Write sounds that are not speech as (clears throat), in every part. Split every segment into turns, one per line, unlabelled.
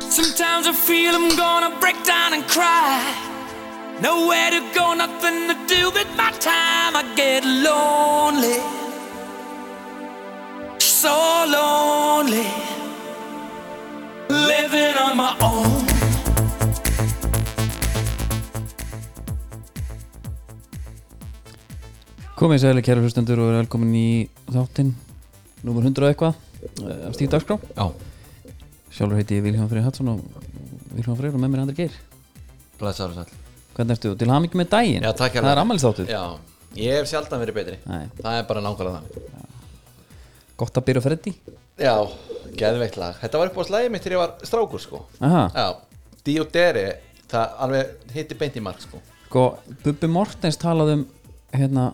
Sometimes I feel I'm gonna break down and cry. Nowhere to go, nothing to do but my time. I get lonely, so lonely. Living on my own.
Komið sæli kæra hlustendur og verið velkomin í þáttinn Númer 100 og eitthvað eh, af Stíf Dagskrá
Já,
Sjálfur heiti ég Vilhján Freyr Hatsson og Vilhján Freyr og með mér er Andri Geir
blæsaður sæl
Hvernig ertu? Til hamingi með daginn
Já, takk
Það er ammælistáttur
Já, ég hef sjaldan verið betri
Nei.
Það er bara nákvæmlega það
Gott að byrja á freddi
Já, geðveikt lag Þetta var upp á slæði mitt þegar ég var strákur sko
Aha,
Já, Diodere Það alveg hitti beint í mark sko
sko, Bubbi Mortens talaði um hérna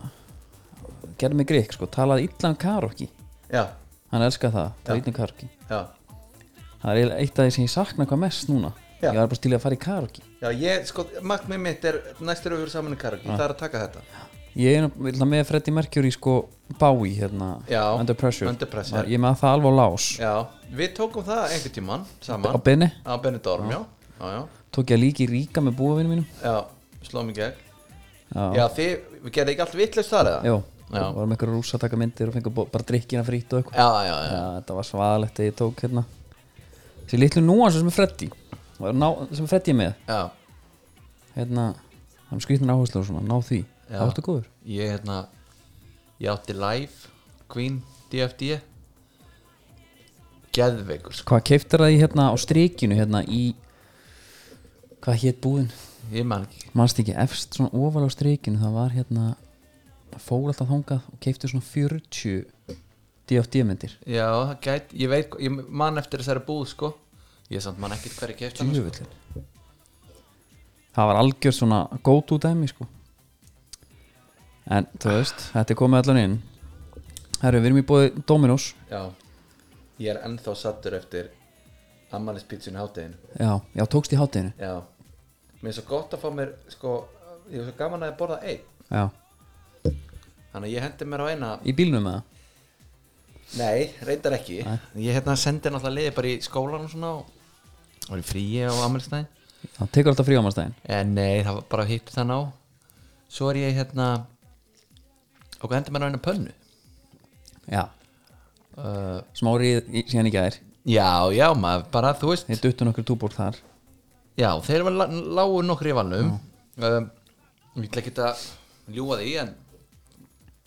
gerði mig grík, sko, talaði illan karaoke
Já,
Hann elskaði það, talaði illan karaoke
já
Það er eiginlega eitt af því sem ég sakna hvað mest núna
Já.
Ég var bara stílið að fara í karaoke
Já, ég, sko, markmið mitt er næst erum við fyrir saman í karaoke, það er að taka þetta
Ég er náttúrulega með Freddie Mercury sko Bowie hérna
Já,
Under Pressure,
Under Pressure.
Ég er með það alveg á lás
Já, við tókum það einhvern tímann
Á
saman
Benny
Á Benidorm, já Já, já,
tók ég að líka í ríka með búavinu mínum
já, slóðum í gegn
Já,
Já, þið, við gerðum ekki allt vitlaust þar eða?
Jó,
Já.
varum einhverju rúsa að taka myndir og fengið bara drikkina frýtt og eitthvað
Já, já, já,
Já, þetta var svaðalegt þegar ég tók hérna Þessi litlu núans sem er Freddy og er að ná, sem Freddy er með
já.
hérna, hann skrýtnir áherslu og svona, ná því
Já.
Það áttu góður
ég hérna ég átti live Queen DFD geðveikur sko
Hvað keiftir það í hérna á strikinu hérna í hvað hétt búinn?
ég man ekki
mannst ekki, efst svona ofal á streikinu það var hérna það fór alltaf þangað og keifti svona 40 DFD myndir
já það gæt ég veit ég man eftir þessari búð sko ég samt man ekkert hverju keft hann sko.
Djöfullinn. það var algjör svona gótu dæmi sko en þú veist, þetta er komið allan inn herru, við erum í bóði Dominos
já ég er ennþá sattur eftir ammalispítsun hátegin
já, já, tókst í hátteginu
já mér er svo gott að fá mér sko ég er svo gaman að ég borða einn
já,
þannig að ég hendi mér á eina
í bílnum með það
Nei, reyndar ekki Ég hérna sendi náttúrulega liði bara í skólan og svona og og í fríi á Amelstæðin
það tekur alltaf frí á mannstæðin
En nei, það var bara hitt þann á Svo er ég hérna og hendur mér á einu pönnu
já,
uh,
smárið í- síðan í gær
Já, já, maður bara, þú veist
þeir duttu nokkur túbór þar
Já, þeir var lágu nokkur í valnum um, Ég ætla ekki að ljúga því en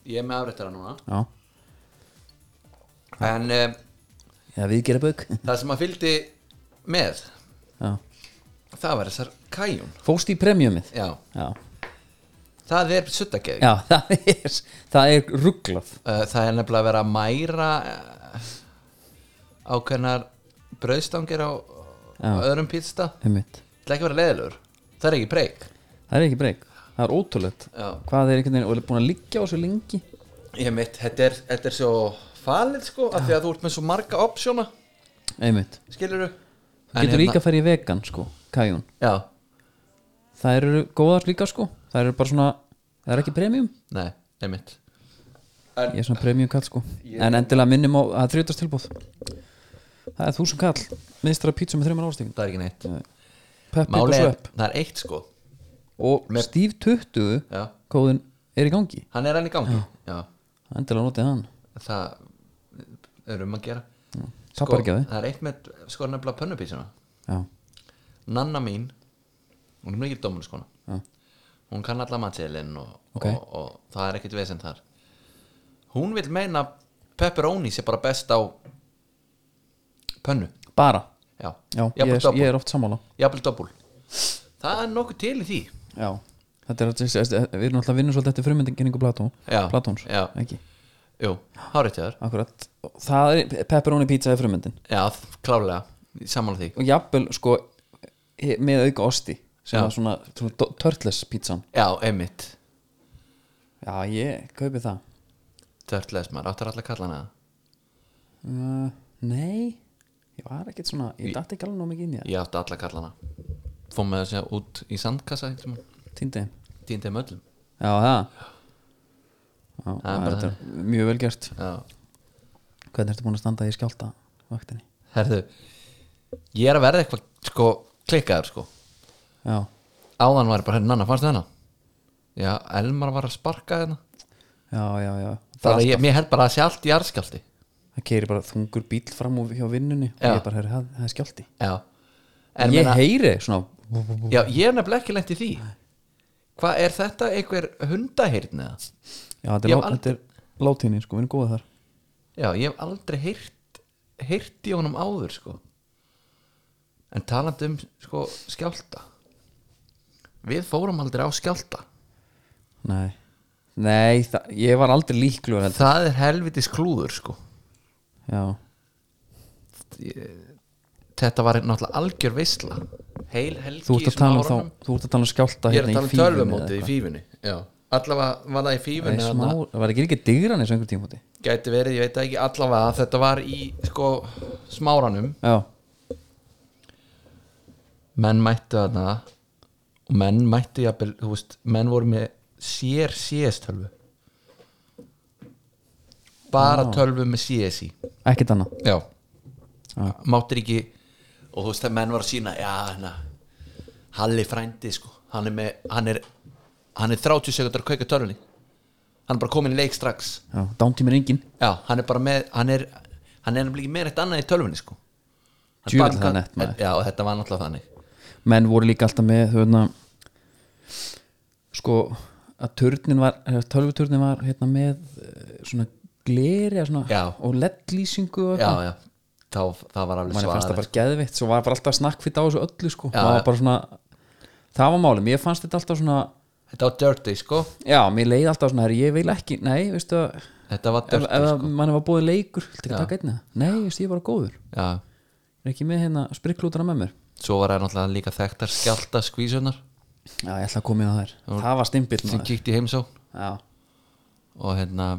ég er með afréttara núna
já,
En um,
já við gera bauk
það sem maður fylgdi með
já.
það var þessar kæjun
fóst í premiumið
Já,
já,
það er suttakeið
Já, (laughs) það er, það er rugglað
Uh, það er nefnilega að vera að mæra uh, ákveðnar brauðstangir á
Já.
á öðrum pítsta
einmitt.
Það er ekki að vera leðilur, það er ekki breyk
Það er ekki breyk, það er ótrúlegt
Já.
Hvað er einhvern veginn, og er búin að liggja á svo lengi
Ég mitt, þetta er, þetta er svo falið sko, af því að þú ert með svo marga opsjóna,
Einmitt,
skilur
þú getur líka að fara í vegan sko, kajun
hérna- Já,
Það eru góðar líka sko, það eru bara svona Það er ekki premium,
nei, einmitt
ég er svona premium kall sko En endilega minnum á að þrjóðast tilbúð Það er þúsund kall, miðstra pizza með þreymar ástíðin
Það er ekki neitt
Peppi og
Máli er,
svepp
það er eitt sko
Og
Með-
Steve 20
Já.
kóðin er í gangi
Hann er enn í gangi Já,
Endilega notið hann,
það er um að gera Sko,
tapar ekki að þið
það er eitt með sko nefnilega pönnupísuna
Já,
nanna mín hún er mikil dómuluskona
Já.
hún kann alla matseðlinn og,
Ok.
og, og það er ekkit vesend þar hún vil meina pepperoni sé bara best á pönnu
bara
já,
Já, ég
jafnvel
er,
doppul
ég er oft sammála
jafnvel doppul það er nokkuð til í því
Já, þetta er alltaf, við erum alltaf að vinna svolítið eftir frummyndinginningu Platón
Já,
Platóns,
já.
ekki,
jú, hárið þér
akkurat Það er pepperoni pizza eða frummyndin
já, klálega sammála því
og jafnvel, sko, he- með auka osti sem
Já.
var svona, svona do- turtles pizzan
já, einmitt
Já, ég kaupi það
törtles maður áttar allar kalla hana það?
uh, Nei, ég var ekkert svona ég dætti ekki alveg nóg mikið inn í það
ég átti allar kalla hana fór með þessi út í sandkassa
Týndi þeim
týndið möllum
Já, það Já,
Það er
það er
bara
þetta mjög vel gert
já
Hvernig ertu búin að standa í skjálta vaktinni?
Herðu, ég er að verða eitthvað sko, klikkaður sko
já,
áðan var ég bara, hérna, nanna, fannst þið hana? Já, Elmar var að sparka hérna
já, já, já.
Það er, ég, mér held bara að sé allt í arskjaldi
það keiri bara þungur bíl fram úr hjá vinnunni og
Já.
ég bara, heyrðu, það, það er skjálti
Já
ég
En meina-
heyri svona
Já, ég er nefnilega ekki lengt í því Hvað, er þetta einhver hundaheyrn eða?
já, þetta er,
Ég hef
lá,
aldrei-
þetta er látíni, sko, við erum góða þar
Já, ég hef aldrei heyrt heyrt í honum áður, sko En talandi um, sko, skjálta Við fórum aldrei á skjálta
nei, nei það, ég var aldrei líklu já,
Það er helvitis klúður, sko Þetta var náttúrulega algjör veisla Heil helgi
þú ert að
svona
tala um
árunum.
þá þú ert að tala um skjálta
Ég er
hérna
að
í
tala um
fífunni
tölvumótið í fífunni Já, allavega var það í fífunni
Nei,
þarna.
smá, var ekki ekki digran eins og einhver tímúti
Gæti verið, ég veit það ekki allavega Þetta var í sko smáranum
já,
Menn mættu þarna Og menn mættu jafnvel, þú veist Menn voru með sér CS-tölvu
Ah.
Bara tölvu með CS í
ekkert annað
Já Máttir ekki Og þú veist það menn var að sína Já, hana Halli frændi sko Hann er með, hann er Hann er 30 sekundar að kveika tölvunni Hann er bara komin í leik strax
já, dántími er engin,
Já, hann er bara með hann er, hann er nefnilega ekki með eitt annað í tölvunni sko Hann
Djöfull
bara-
það er nett, maður.
Já, og þetta var náttúrulega þannig
menn voru líka alltaf með þú veitna sko, að turnin var tölvuturnin var hérna með eh, svona gleri eða svona,
Já.
og LED-lýsingu og
Já,
eitthvað.
já, þá, það var alveg
manni fannst það
svaðalegt, sko.
bara geðvitt svo var bara alltaf snakkfitt á þessu öllu sko.
Já,
það var
já.
bara svona það var málum, ég fannst þetta alltaf svona
sko. Þetta var dirty sko
já, mér leiði alltaf svona, herri, ég vil ekki nei, veistu að ef,
Þetta var
ef
dirty
sko. manni var búið leikur, viltu ekki taka einna nei, veistu, ég var góður,
Já,
er ekki með hérna sprikklútana með mér
svo var það náttúrulega líka þekktar skjálta skvísunar
já, ég ætla að koma inn á þær, það var stimpill
sem
maður.
kíkti í heimsó
já,
og hérna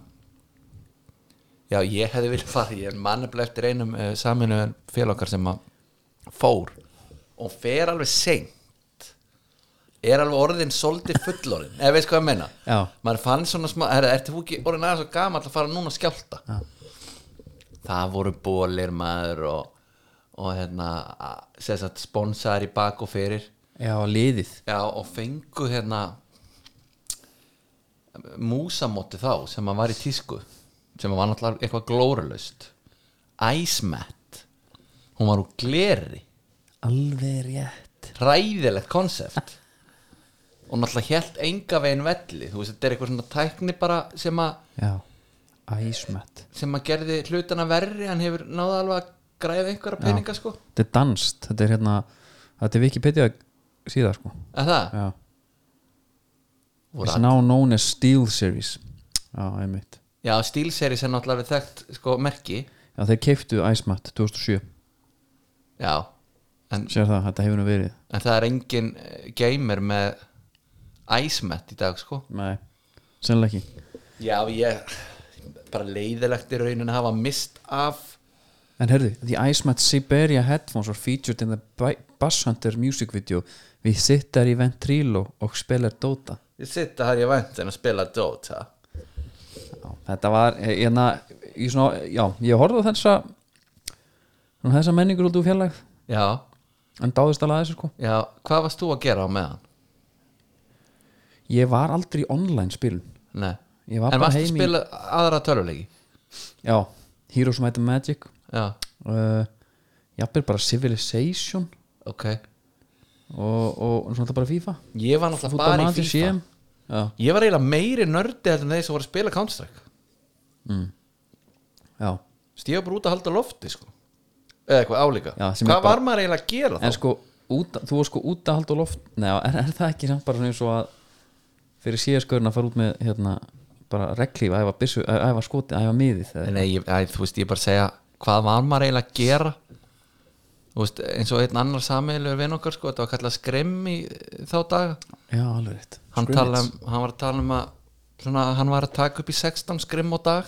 Já, ég hefði viljað fara Ég er mannaflega eftir einum uh, saminu félokkar sem að fór og fer alveg seint er alveg orðin soldið fullorðin eða veist hvað ég meina
Já.
maður fann svona smá, er, ertu þú ekki orðin aðeins og gamall að fara núna að skjálta
Já.
það voru bólir maður og, og hérna a- sem sagt, sponsar í bak og fyrir
já, liðið
Já, og fengu hérna músamóti þá sem að var í tísku sem að var náttúrulega eitthvað glórulaust Ice Mat hún var úr gleri
alveg rétt
ræðilegt konsept og náttúrulega hélt enga veginn velli þú veist, þetta er eitthvað svona tækni bara sem að,
já, æsmett
sem að gerði hlutana verri hann hefur náða alveg að græða einhverja peninga sko,
þetta er danst, þetta er hérna þetta er Wikipedia síðar sko
að það
já,
Voru
it's now known as Steel Series já, einmitt
all- já, stílseri sem náttúrulega við þekkt sko merki,
já, þeir keiftu æsmett 2007
já en
sér það, þetta hefur nú verið
en það er engin eh, gamer með æsmett í dag sko
nei, sennilega ekki
já ég bara leiðilegt í raunin að hafa mist af
en herðu, the æsmett Siberia headphones were featured in the Bi- Bass Hunter music video við sittar í ventrilo og spilar Dota
ég sitta hér í vendin að spila Dota
Já, þetta var hérna, ég, svona, já, ég horfði á þessa svona þessa menningur út úr fjarlægð
já,
en dáðist alveg að þessu sko
já, hvað varst þú að gera á meðan?
ég var aldrei í online spilun
Nei.
Ég var
en
bara
varst að
heima í-
spila aðra töluleiki
já, Heroes Might and Magic
já,
uh, jafnvel bara Civilization
ok
og, og svona þetta bara FIFA
ég var náttúrulega bara í FIFA
CM. já,
ég var eiginlega meiri nördi heldur en þeir sem voru að spila Counter-Strike
já.
Þú veist, ég var bara út að halda lofti sko eða eitthvað álíka
Já, sem
hvað
ég bara-
var maður eiginlega að gera þá?
en sko, út, þú var sko út að halda á loft neða, er, er það ekki samt bara svona eins og að fyrir síðaskörin að fara út með hérna, bara reglífa, æfa, byssu, æ- æfa skoti æfa miðið eða-
Nei, ég, æ, þú veist, ég er bara að segja hvað var maður eiginlega að gera þú veist, eins og einn annar sameigilegur vinn okkar, sko, þetta var kallað skremm í eh, þá daga,
já, alveg rétt
hann,
Scrimmage.
tala, um- hann var að tala um að svona, hann var að taka upp í 16 skremm
(laughs)
á dag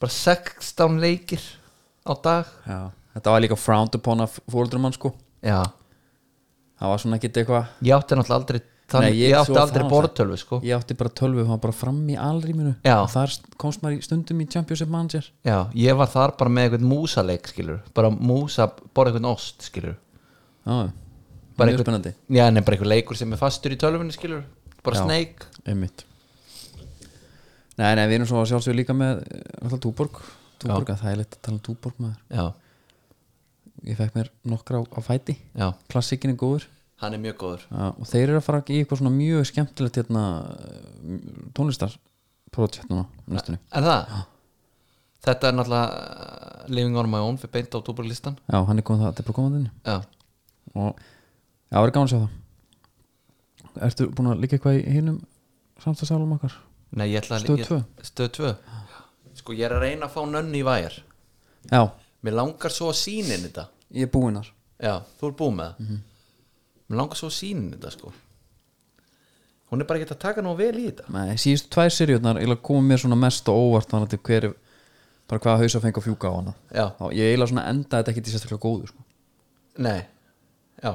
bara 16 leikir á dag
Já, þetta var líka frowned upon af fóruldrum mann sko
já,
það var svona ekkit eitthvað
ég átti náttúrulega aldrei þannig
Nei,
ég,
ég
átti
svo
aldrei
það
borðtölvu sko
ég átti bara tölvu, það var bara fram í alrýminu
Já.
og þar st- komst maður í stundum í Championship Manager
já, ég var þar bara með einhvern músaleik skilur, bara músa, borða einhvern ost skilur,
já,
bara
mjög spennandi
já, nei, bara einhver leikur sem er fastur í tölvunni skilur, bara
Já.
snake
einmitt nei, nei, við erum svo að sjálfsögur líka með eh, alltaf Túborg, Túborg, að það er leitt að tala um Túborg maður,
já,
ég fekk mér nokkra á, á fæti,
já,
klassikin er góður
hann er mjög góður
já, og þeir eru að fara í eitthvað svona mjög skemmtilegt hérna, tónlistar projekt núna, á næstunni
er það? þetta er náttúrulega uh, Living on my own fyrir beint á túborlistan
já, hann er komið það, þetta er bara komandi inn
já,
og já, það er gaman að sjá það Ertu búin að líka eitthvað í hinnum samstagsalum okkar?
nei, ég ætla að
Stöð
ég-
tvö.
stöð 2 sko, ég er að reyna að fá nönni í væjar
Já,
mér langar svo að sínin þetta
ég er búinnar
Já, þú er búið með það
Mhm.
Mér langar svo að sínin þetta sko Hún er bara ekki að taka nú vel í þetta
Nei, síðustu tvær seriurnar ég komið mér svona mest og óvart þannig að hver er bara hvaða haus að fengi að fjúka á hana
Já,
Þá, ég eiginlega svona enda þetta ekki til sérstaklega góðu sko.
nei Já,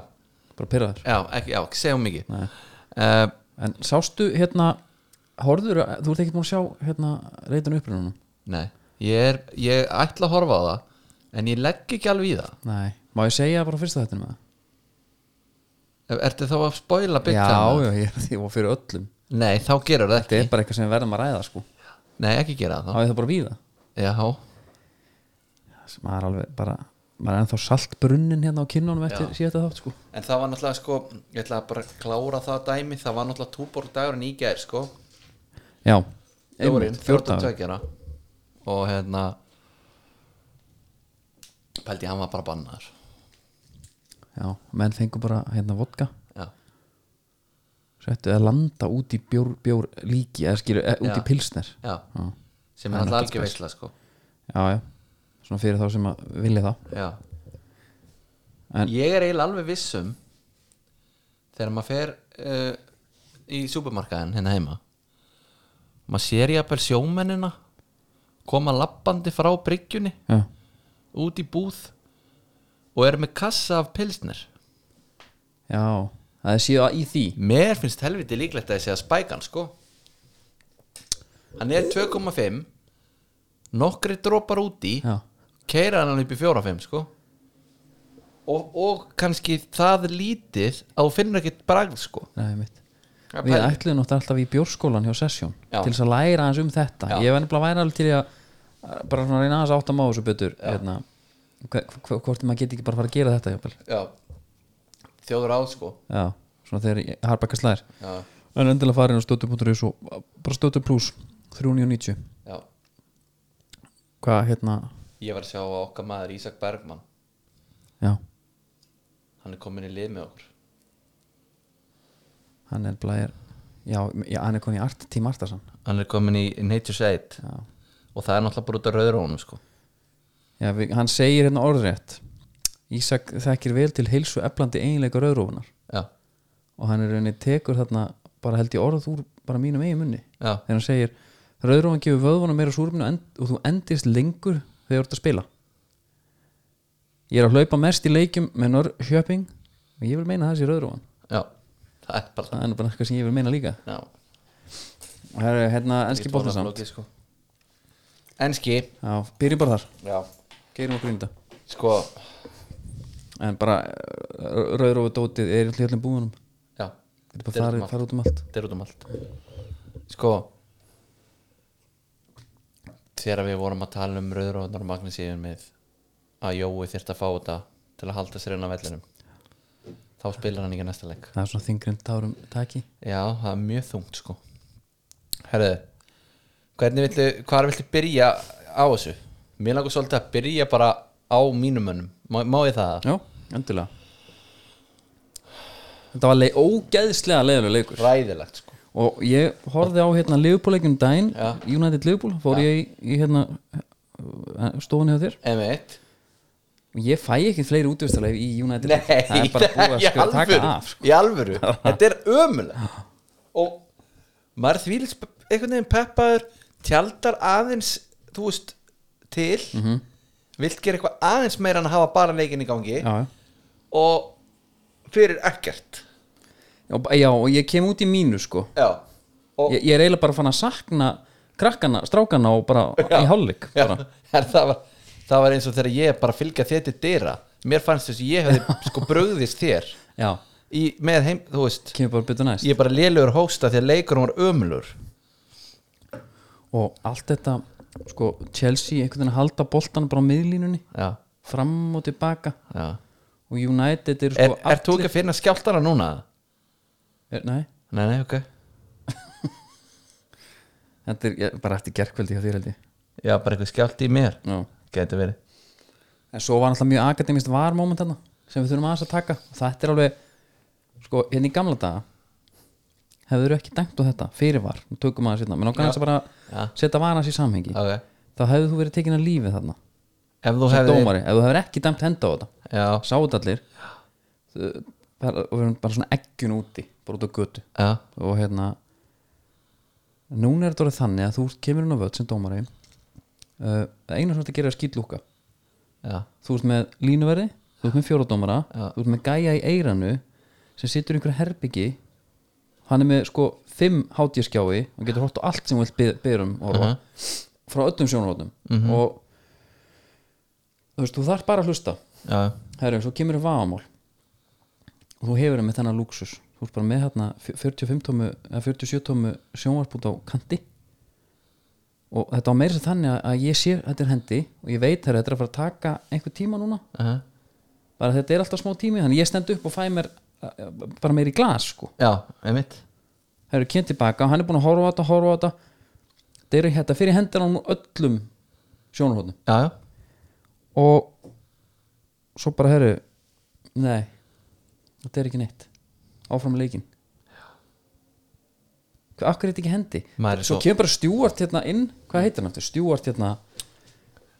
bara pyrraður
já, ekki, já, ekki segja um mikið
Nei.
uh,
En sástu hérna horfður, þú ert ekki búin að sjá hérna reytan upprununum
Nei, ég er Ég ætla að horfa á það En ég legg ekki alveg í það
Nei, má ég segja bara fyrsta þetta með það?
Er- Ertu þá að spoila byggt
Já, já, ég, ég var fyrir öllum
Nei, þá gerur það
Þetta
ekki
er bara eitthvað sem við verðum að ræða sko.
Nei, ekki gera
Þá
það
er það bara víða
Já,
sem maður er alveg bara maður er ennþá saltbrunnin hérna á kinnunum eftir síðan þátt sko
en það var náttúrulega sko Ég ætla að bara klára það dæmi Það var náttúrulega túbor dagurinn í gær sko
já,
Þjórin,
fjórdagur
42 ára. og hérna pældi ég, hann var bara bannaður
já, menn fengur bara hérna vodka
já,
settu eða landa út í bjór, bjór líki eða skilu, eða út
Já.
í pilsner
já.
já,
sem er alltaf algjör veisla sko
já, já, svona fyrir þá sem að vilja það
já.
En-
ég er eiginlega alveg vissum þegar maður fer uh, í supermarkaðin hérna heima maður sér ég að sjómennina koma lappandi frá bryggjunni
já,
út í búð og er með kassa af pilsnir
já, það er síðan í því
Mér finnst helviti líklegt að ég sé að spæka hann sko Hann er 2,5 Nokkri dropar úti
já,
Keira hann upp í 4,5 sko og, og kannski það lítið að þú finnur ekkert bragð sko
það er mitt
Það er
við
pæling.
ætluðum náttúrulega alltaf í bjórskólan hjá Session
Já.
til þess að læra aðeins um þetta
Já.
ég var nefnilega væri alveg til í að að bara svona reyna aðeins að átta máðu svo betur hérna, hve- hve- hvort maður geti ekki bara fara að gera þetta jáfnvel
Já Þjóður áð sko
Já, svona þegar Harbakka slær
Já,
En endilega farin á stötu.is og bara stötu plus 390
já
Hvað hérna
Ég var að sjá að okkar maður Ísak Bergmann
Já,
Hann er komin í lið með okkur
hann er blæðir Já, já, hann er konið í art, tím artasan
Hann er komin í Nature's Aid
Já,
Og það er náttúrulega bara út af rauðrónum sko
já við, hann segir hérna orðrétt Ísak þekkir vel til heilsu eflandi eiginleika rauðrófunar
Já,
og hann er rauninni tekur þarna bara held ég orð úr bara mínum eigin munni
já,
þegar hann segir rauðrófan gefur vöðvana meira súrminu og, end, og þú endist lengur þegar þú ert að spila ég er að hlaupa mest í leikjum með Norrköping og ég vil meina þessi rauðrófan
já Það er bara
það er nú bara eitthvað sem ég vil meina líka
Já,
og það er hérna ennski bóttin samt
sko. Enski
já, byrjum bara þar,
sko. Já
geirum okkur í þetta
Sko
en bara rauðrófu dótið er í öllum búinum
Já
þetta er bara farið fara út um allt
Þetta er út um allt Sko Þegar við vorum að tala um rauðróðnar og magnesíðum með að Jói þyrfti að fá þetta til að halda sér inn á vellinum þá spilar hann ekki næsta leik
það er svona þingrind tárum taki
Já, það er mjög þungt sko Herðu Hvernig viltu, hvar viltu byrja á þessu? Mér langar svolítið að byrja bara á mínum mönnum Má, má ég það?
já, endilega þetta var le ógeðslega leiðilega leikur
Ræðilegt sko
og ég horfði á hérna Liverpool-leikjum daginn, United Liverpool fór ég í, í hérna stofun hjá þér
M1
og ég fæ ekki fleiri útvistarleif í United
Nei,
það er bara búið að
(laughs) í
skjöra taka
alvöru,
af sko.
Í alvöru, þetta er ömulega Og maður því einhvern veginn peppaður Tjaldar aðeins, þú veist, til
Mhm.
Vilt gera eitthvað aðeins meira en að hafa bara leikin í gangi
já, já.
Og fyrir ekkert
já, b- já, og ég kem út í mínu sko
já, og,
ég, ég er eiginlega bara fann að sakna krakkana, strákana og bara í hálfleik
(laughs) já
bara.
en það, var, það var eins og þegar ég bara fylgja þér til dyra mér fannst þess að ég hefði sko brugðist þér
já,
í, með heim, þú veist
kemur bara betur næst
ég er bara lélugur hósta því að leikurum var ömulur
og allt þetta, sko, Chelsea einhvern veginn að halda boltan bara á miðlínunni
já,
fram og tilbaka
já
og United er
Er,
sko
er þú ekki að finna skjáltana núna?
er, nei,
Nei, nei, ok
þetta er ég, bara eftir gerkveldi hjá þér held ég
Já, bara eitthvað skjálti í mér
já.
Gæti verið
en svo var alltaf mjög akademist varmoment þarna sem við þurfum aðeins að taka og þetta er alveg sko, hérna í gamla daga hefur ekki dæmt á þetta fyrir var, nú tökum aðeins hérna menn okkar aðeins að bara
Já.
setja varas í samhengi
Ok
þá hefðu þú verið tekin að lífi þarna
Ef þú
sem
hefði
dómari, ef þú hefur ekki dæmt henda á þetta
Já,
sáu þetta allir Þú- bara- og við erum bara svona eggjun úti bara út á götu
já,
og hérna núna er þetta orðið þannig að þú ert- kemur inn á völd sem dómari uh, eina sem þetta gerir er að skýtlúka
já,
þú ert með línuverði, þú ert með fjóradómara
Já.
þú ert með gæja í eiranu sem situr í einhverju herbyggi hann er með sko fimm hátíðskjái hann getur hótt á allt sem við byrjum um horfa frá öllum sjónarhóttum og þú veist, þú þarf bara að hlusta
já
herru, svo kemur það vagamál og þú hefur það með þennan lúksus þú ert bara með hérna 45 tómu eða 47 tómu sjónvarpút á kanti og þetta á meira sér þannig að- að ég sé þetta er hendi og ég veit herru, þetta er að fara að taka einhver tíma núna
uh
bara þetta er alltaf smá tími þannig ég stend upp og fæ mér eh, bara meir í glas sko
Já, einmitt
það eru kynnt tilbaka og hann er búin að horfa á þetta horfa á þetta það eru hérna fyrir hendur á öllum sjónarhóðnum
Já, já,
og svo bara herru nei, þetta er ekki neitt áfram leikin hvað, akkur er þetta ekki hendi
Maður er
svo
svo-
kemur bara Stjúart hérna inn hvað heitir hann aftur, Stjúart hérna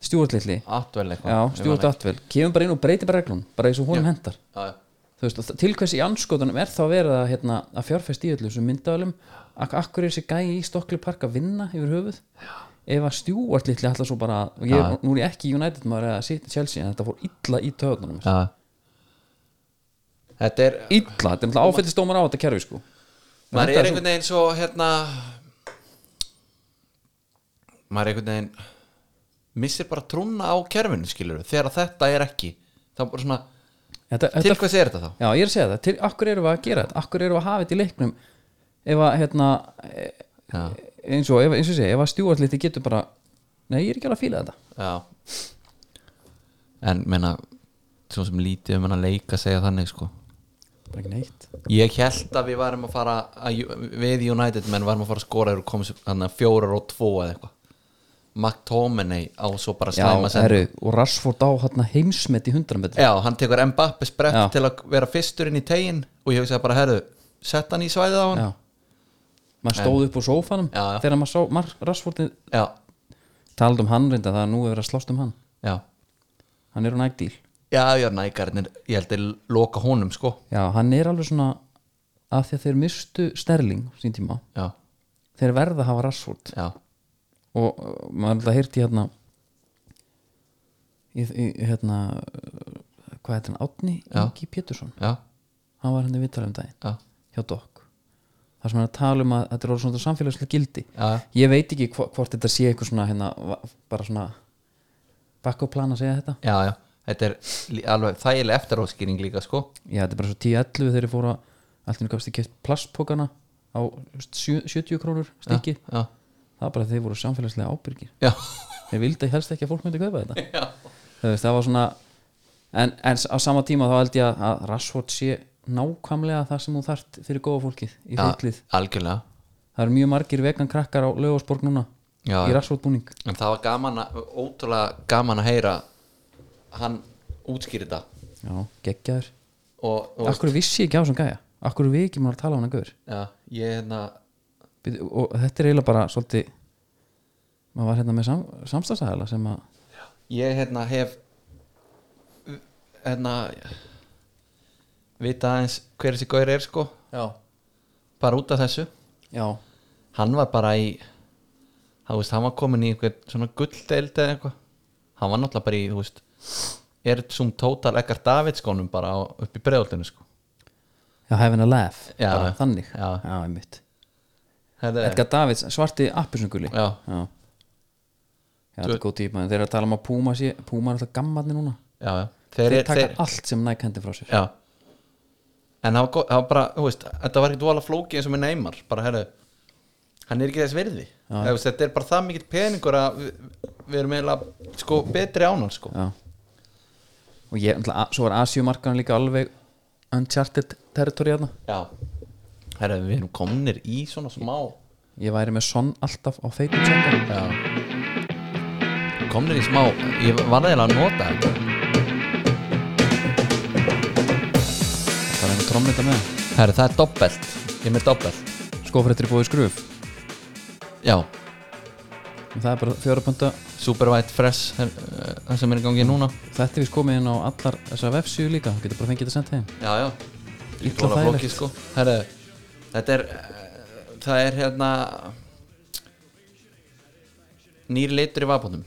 Stjúart litli,
áttvel eitthvað
já,
Ég man
Stjúart
ekki.
Atvel kemur bara inn og breytir bara reglum, bara eins og honum hendar
Já, já,
þú veist, og þ- til hvers í anskotunum er þá verið að, hérna, að fjárfæst í öllu þessum myndavælum ak akkur er þessi gæi í Stokkli park að vinna yfir höfuð ef að stjúart litli alltaf svo bara og ég,
Já.
nú er ég ekki United maður eða City Chelsea en þetta fór illa í töðunum
já Þetta er
illa, þetta er náttúrulega áfættistómar á þetta kerfi sko
Maður
Þetta
er
er
einhvern veginn svo hérna Maður er einhvern veginn Missir bara trúna á kerfinu skilur Þegar þetta er ekki Þá bara svona
þetta,
Til
þetta,
hvers er þetta þá?
já, ég er að segja það, til akkur eru við að gera þetta akkur eru við að hafa þetta í leiknum ef að, hérna, e-
Já,
eins og, ef- eins og ég segi, ef að stjúart litli getur bara nei, ég er ekki alveg að fíla þetta
já En meina Svo sem lítið um hann að leika segja þannig sko
bara ekki neitt
Ég held að við varum að fara að, við United menn varum að fara að skora þegar komum þannig að fjórar og tvo eða eitthvað McTominay á svo bara
já,
slæma sendingu.
herru, og Rashford á hérna, heimsmet í 100 metri
Já, hann tekur Mbappe sprett
Já.
til að vera fyrstur inn í tegin og ég hugsaði bara, herðu, sett hann í svæðið á hann
já. maður stóð upp úr sófanum
Já, já.
þegar maður sá Mar Rashfordin
Já,
talað um hann reynda það að nú er verið að slást um hann
já
hann er á nægdýl
Já, já, nægarnir, ég held að loka honum sko
já, hann er alveg svona að því að þeir mistu Sterling sín tíma,
Já,
þeir verða að hafa Rashford
já,
og uh, maður alltaf heyrti hérna í, í hérna uh, hvað heitir hann, Átni Ingi Pétursson
já,
hann var henni viðtalið um daginn
já,
hjá Dokk þar sem hann er að tala um að þetta er orðið svona samfélagslega gildi
Já.
ég veit ekki hvo- hvort þetta sé eitthvað svona hérna, va- bara svona bakkoplan að segja þetta
já, já Þetta er lí- alveg þægileg eftiráskýring líka sko
já, þetta er bara svo 10-11 þegar ég fór að allt henni gafst ég keft plastpókana á þú veist, sjö- 70 krónur stykki
Já,
það var bara að þeir voru samfélagslega ábyrgir
já,
þeir vildi helst ekki að fólk myndi kaupa (laughs) þetta
já.
Þú veist, það var svona en, en s- á sama tíma þá held ég að- að Rashford sé nákvæmlega það sem hún þart fyrir góða fólkið í fylglið
Algjörlega
það eru mjög margir vegan krakkar á lögásborg núna
Já,
í
já.
rassvotbúning
En það var gaman að, ótrúlega gaman að heyra hann útskýri þetta
já, geggjaður
og, og
akkur vissi ég ekki á þessum gæja akkur við ekki maður að tala á hana gaur
já, ég hérna
Bíddu, og þetta er eiginlega bara svolítið maður var hérna með sam, samstagsæðala sem að
ég hérna hef hérna vita aðeins hver þessi gaur er sko
já,
bara út af þessu
já,
hann var bara í þú veist, hann var komin í einhver svona gulldeild eða eitthvað hann var náttúrulega bara í, þú veist er þetta svona tótal ekkert Davidskonum bara á, upp í breðoltinu sko
já, having a laugh,
Já.
bara þannig
Já.
já einmitt
Þetta er-
Edgar Davids, svarti appusunguli
Já.
já Já, þetta er góð típa, en þeir eru að tala um að Puma sé Puma er alltaf gammalni núna
já, já.
Þeir,
Þeir, er-
taka
þeir,
allt sem Nike hendi frá sér
Já En það var, gó- það var bara, þú veist, þetta var ekkert vola flóki eins og með Neymar bara herru, hann er ekki þess virði Eða, þú veist, Þetta er bara það mikill peningur að við, við erum eiginlega sko, betri ánar sko.
Já Og ég, náttúrulega, a- svo var Asiumarkan líka alveg uncharted territory þarna
Já Herru, við erum komnir í svona smá
Ég væri með sonn alltaf á feitum senda
Já Komnir í smá, ég var eiginlega að nota þetta
Það er einhver trommita með
Herru, það er doppelt Ég er með doppelt
Skofrættir búið skruf
Já,
Og það er bara fjóra pönta
Super White Fresh her- eh, það sem er í gangi núna
Þetta er við komið inn á allar þessar vefsíu líka Þú getur bara fengið þetta sendt heim
Já, já
Illa
Ítla
þægilegt.
flóki sko Herru, Þetta er eh, Það er hérna Nýr litur í vapónum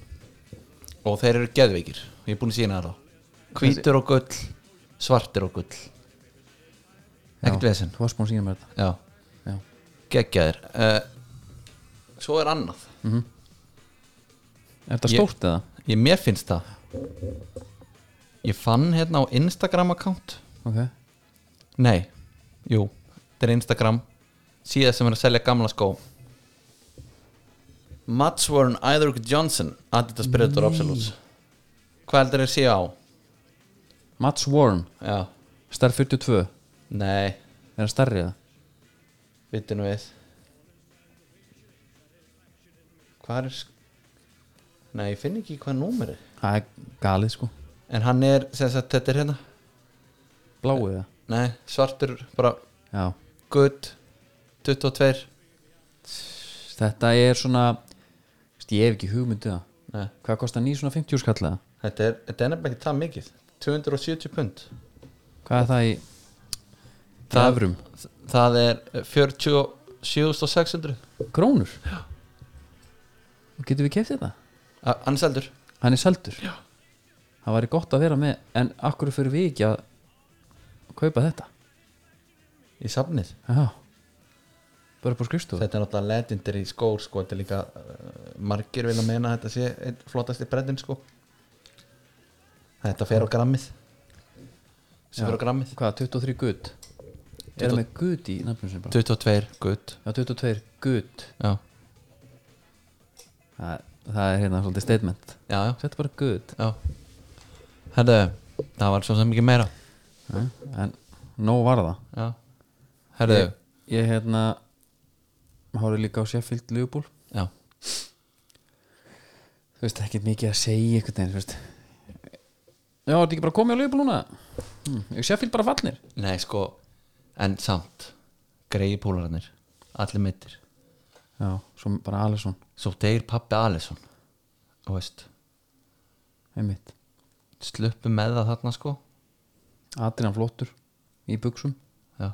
Og þeir eru geðveikir Ég er búin að sína það þá Hvítur og gull, svartir og gull Ekkert
Já,
vesen.
Þú varst búin að sína mér þetta
Já,
Já,
geggjaðir uh, Svo er annað
Er þetta
Ég-
stórt eða?
Ég mér finnst það Ég fann hérna á Instagram account
Ok
Nei, jú, þetta er Instagram síða sem er að selja gamla skó Matsworn Either Johnson Adidas Predator Absolutes Hvað heldur þér síða á?
Mats Warren,
Já,
stærð 42 Er
nei,
það stærri eða?
vittu nú við Hvað er sk- Nei, ég finn ekki hvað númer er
Það er galið sko
En hann er, sem sagt, þetta er hérna
Bláið eða?
Nei, svartur, bara
Já
gutt 22
Þetta er svona veist, Ég hef ekki hugmyndið það
Nei,
Hvað kostar ný svona 50 skallega?
þetta er, þetta er nefnilega ekki það mikið 270 pund
Hvað er það í
Það-
Evrum?
Það er 47.600
Krónur? Já Og getum við keft þetta?
A- Hann er seldur
Hann er seldur Já Það væri gott að vera með En akkur fyrir við ekki að kaupa þetta?
í safnið
Já Bara upp á skrifstofu
Þetta er náttúrulega legendary skór sko Þetta er líka uh, margir vilja meina að þetta sé einn flottasti breddin sko Þetta fer á grammið sem fer á grammið
Hvað, 23 gutt? Er það með gutt í nafnum sem bara?
22 gutt
Já, 22 gutt
Já,
það, það er hérna svolítið statement
já, já,
Þetta bara gutt
já. Herðu, það var svo sem mikið meira
En nóg var það
Já Herðu,
Ég hérna Hárið líka á Sheffield Liverpool
já,
Þú veist ekki mikið að segja einhvern veginn þú veist. Já, þetta ekki bara komið á Liverpool núna hm, Ég Sheffield bara fallnir
nei sko En samt, greiði púlararnir Allir mittir
Já, svo bara Alisson,
svo deyr pappi Alisson og veist,
einmitt
sluppu með það þarna sko
Adrian flottur í buksum
já,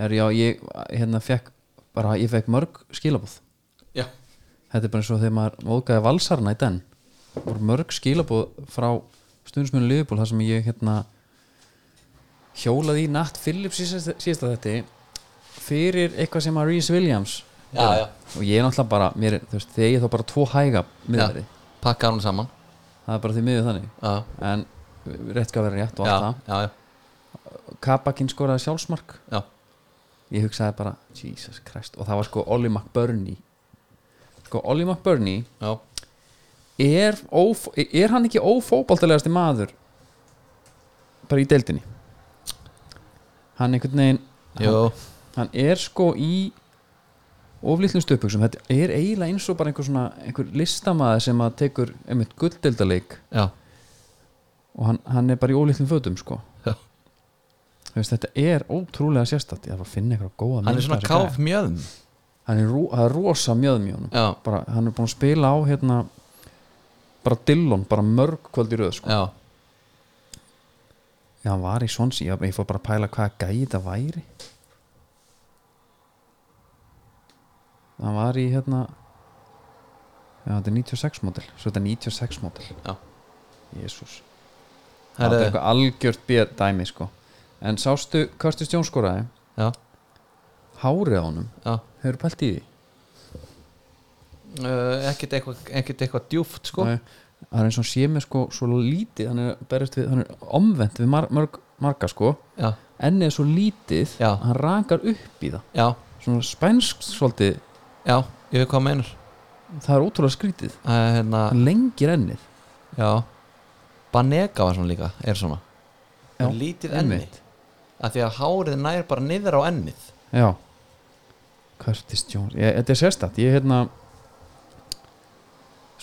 Er já, ég hérna fekk bara, ég fekk mörg skilabóð
já.
Þetta er bara eins og þegar maður móðgæði valsarna í den voru mörg skilabóð frá stundismunum Liverpool þar sem ég hérna hjólaði í Nat Phillips í síðasta síðasta þetta fyrir eitthvað sem að Reece Williams
Já, já.
og ég er náttúrulega bara mér, er- þú veist, þegar ég þá bara tvo hæga miðari
pakka hann saman
það er bara því miður þannig
já,
en rétt skal vera rétt og
já,
allt
já, já,
það Kabakinn skoraði sjálfsmark
já.
ég hugsaði bara, Jesus Christ og það var sko Ollie McBurney sko Ollie McBurney
já.
er, óf, er hann ekki ófóbaltalegasti maður bara í deildinni hann einhvern veginn
Jú,
hann er sko í oflítlum stöpuksum, þetta er eiginlega eins og bara einhver svona, einhver listamaður sem að tekur einmitt gulldeildaleik
já,
og hann, hann er bara í ólítlum fötum sko
já.
Þú veist, þetta er ótrúlega sérstætt ég þarf að finna eitthvað góða
hann
mynd
er svona
af þessu
káf
gæja.
mjöðum
hann er, ro- það er rosa mjöðum í honum
já,
bara, hann er búin að spila á hérna bara Dillon, bara mörg kvöld í röð sko.
já,
Já, hann var í Swansea, ég, ég fór bara að pæla hvaða gæði þetta væri Hann var í hérna Já, þetta er 96 mótil Svo þetta er 96 mótil
já
Jésús Það er
Herðu,
eitthvað algjört bér dæmi sko en sástu Curtis Jones skoraði
já,
hárið á honum,
já
hefur pælt í því
uh, ekkert eitthvað ekkert eitthvað djúft sko
Nei, það er eins og hann sé með sko svo lítið hann er, að berjast við, hann er omvend við mar, marg, marga sko
já,
enni er svo lítið
Já.
að hann rakar upp í það
já,
svona spænsk svolítið
já, ég veit hvað meinar
það er ótrúlega skrítið
það er hérna,
hann lengir ennið
já Banega var svona líka, er svona
Já,
já, lítið enni
einmitt.
af því að hárið nær bara niður á ennið
já Curtis Jones ég, þetta er sérstætt ég hérna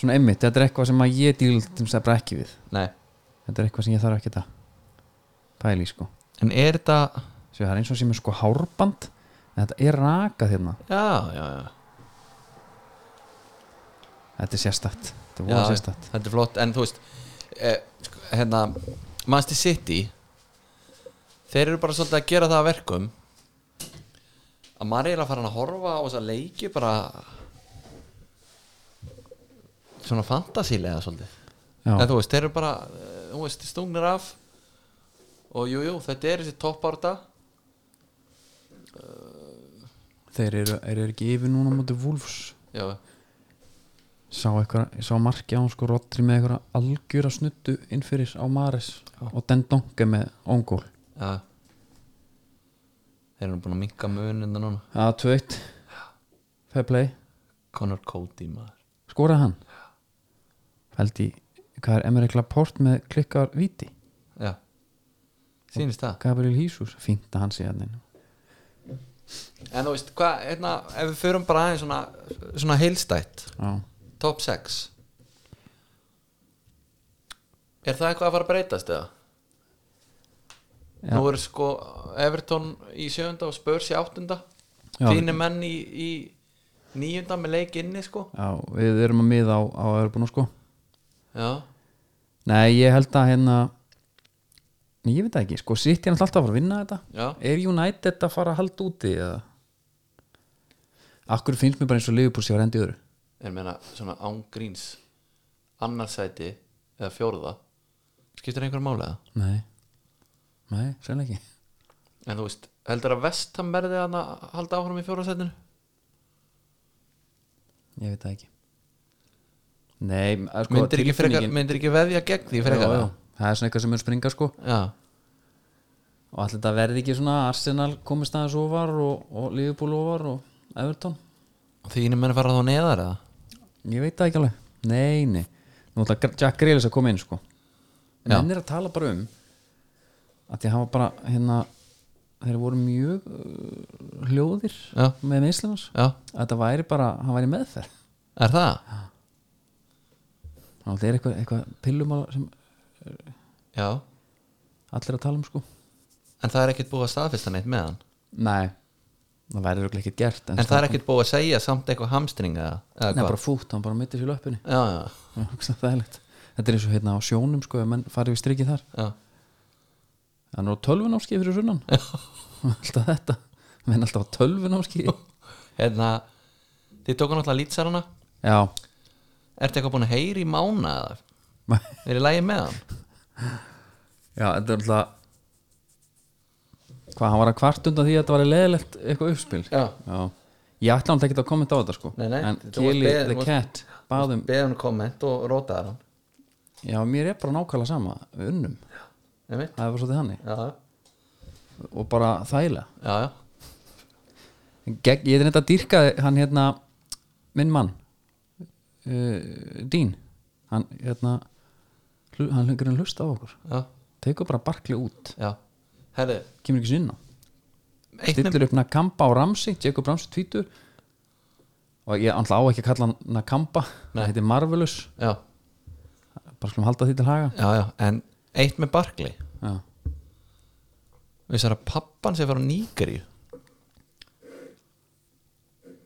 svona einmitt þetta er eitthvað sem að ég dýldum sem bara ekki við
nei,
þetta er eitthvað sem ég þarf ekki að pæli sko
en er þetta
Svo það er eins og sem er sko hárband en þetta er rakað hérna
já, já, já
þetta er sérstætt þetta er
Já,
voða sérstætt
þetta er flott en þú veist eh, sko, hérna, Manchester City þeir eru bara svolítið að gera það að verkum að maður er að fara að horfa á þessa leiki bara svona fantasílega svolítið
Já.
en þú veist, þeir eru bara eh, þú veist, stungnir af og jú, jú, þetta er þessi toppárta
Þeir eru, eru ekki yfir núna á móti Wolfs
já,
sá, eitthvað, sá marki á hann sko Rodri með eitthvað algjöra snuttu inn fyrir á Maris og Dendonke með Ongol
já þeir eru búin að minka munina núna
að 2-1 fair play,
Connor Cody maður
skoraði hann held í, hvað er Emre Laporte með klikkar viti
já, sýnist það
Gabriel Jesus, fínt að hann sé hann
En þú veist, hvað, hérna, ef við förum bara aðeins svona, svona heilstætt
já,
Top 6 Er það eitthvað að fara að breytast eða?
Já.
Nú eru sko Everton í sjönda og Spurs í áttunda
Já.
Þínu menn í, í níunda með leik inni sko
já, við erum að miða á, á Örbunu sko
Já,
Nei, ég held að hérna Nei, ég veit það ekki, sko, sitt ég alltaf að fara að vinna þetta
Já.
Er United að fara að halda úti eða Akkur finnst mér bara eins og Liverpool sé að rendi öðru
en meina svona ángríns annarsæti eða fjórða skiptir einhverjum málega
Nei, nei, sérlega ekki
En þú veist, heldur að vestam verði að halda áfram í fjórðasætinu?
Ég veit það ekki Nei, að sko,
myndir ekki, frekar,
tilfinningin-
myndir ekki veðja gegn því frekar
já, já, Það er svona eitthvað sem er springa sko
já.
Og allir þetta verði ekki svona Arsenal komist aðeins ofar og, og Liverpool ofar og Everton
og því inni menn fara þá neðar eða
Ég veit það ekki alveg Nei, nei Nú ætla Gr- Jack Grealish að koma inn sko En hann er að tala bara um að því hafa bara hérna þeir voru mjög uh, hljóðir
Já.
með meðslunars
já,
að þetta væri bara, hann væri í meðferð
er það?
þannig að það er eitthvað, eitthvað pillum að- sem
já,
allir að tala um sko
en það er ekkert búið að staðfesta neitt með hann
Nei, það væri örugglega ekkert gert
en það er ekkert búið að segja samt eitthvað hamstring eða, eða
Nei,
hvað?
bara fútt, hann bara mittir sér löpunni
já, já,
Þetta er eins og hérna á sjónum sko ef menn farið við strikið þar
já,
hann er á tölvunámskið fyrir
(laughs)
sunnan alltaf þetta menn alltaf á tölvunámskið
hérna þið tóku náttúrulega lýtsarana
Já,
ertu eitthvað búin að heyri í mána eða er í lægi með hann?
Já, þetta er alltaf Hvað, hann var að kvart undan því að þetta var leðilegt eitthvað uppspil
já,
Já, ég ætla hann ekki að kommenta á þetta sko
Nei, nei,
En
þú varst
Kili
beðin-
the
þú varst-
Cat Báðum,
beðið hann komment og rótaði hann
já, mér er bara nákvæmlega sama Við unnum,
Einmitt.
það er bara svolítið hannig
já, já,
Og bara þægilega
já, já.
Geg, Ég er þetta að dýrka hann hérna Minn mann uh, Dín Hann hérna hlu- Hann hengur hann hlusta á okkur
já,
Tekur bara barkli út,
já. herri,
kemur ekki sinna
eitt nefn
stillir upp Nakamba og Ramsey Jacob Ramsey tvítur og ég ætla á ekki að kalla hann Nakamba
Nei.
það heitir Marvelous,
já,
bara skulum halda því til haga
já, já, en eitt með Barkley
já.
Vissar að pappan sem var á Nígeríu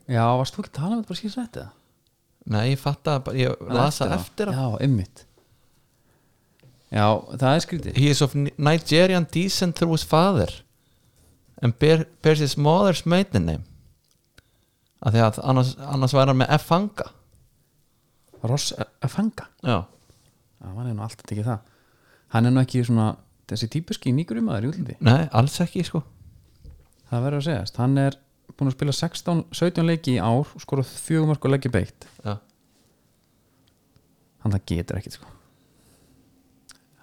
já, varst þú ekki að tala um þetta bara síðan þetta?
Nei, ég fatt að ég lasa eftir að
Já, ymmit Já, það er skrítið
He is of Nigerian descent through his father and bear, bears his mother's maiden name af því að annars, annars væri hann með F-fanga
Ross að fanga
Já,
Já, hann er nú alltaf ekki það Hann er nú ekki svona þessi típiski nýgurum maður í útliti
Nei, alls ekki sko
það verður að segjast, hann er búin að spila 16, 17 leiki í ár og skora fjögum mörg og leiki beitt
Já,
hann það getur ekkit sko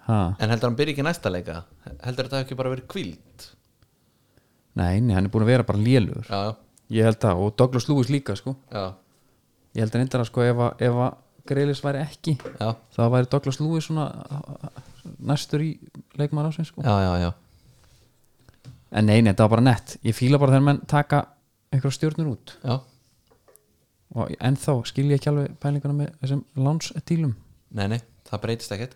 ha,
En heldur hann byrja ekki næsta leika Heldur þetta hafi ekki bara verið kvíld
nei, nei, hann er búin að vera bara lélugur
Já,
ég held það, og Douglas Lewis líka sko
já,
ég held reyndar að sko ef að, ef að Greilis væri ekki
já
þá væri Douglas Lewis svona a- a- næstur í leikmaður ásins sko
Já, já, já,
en nei, nei, þetta var bara nett, ég fíla bara þegar menn taka einhverja stjórnur út
já.
og ennþá skil ég ekki alveg pælinguna með þessum lánsdílum
Nei, nei, það breytist ekkert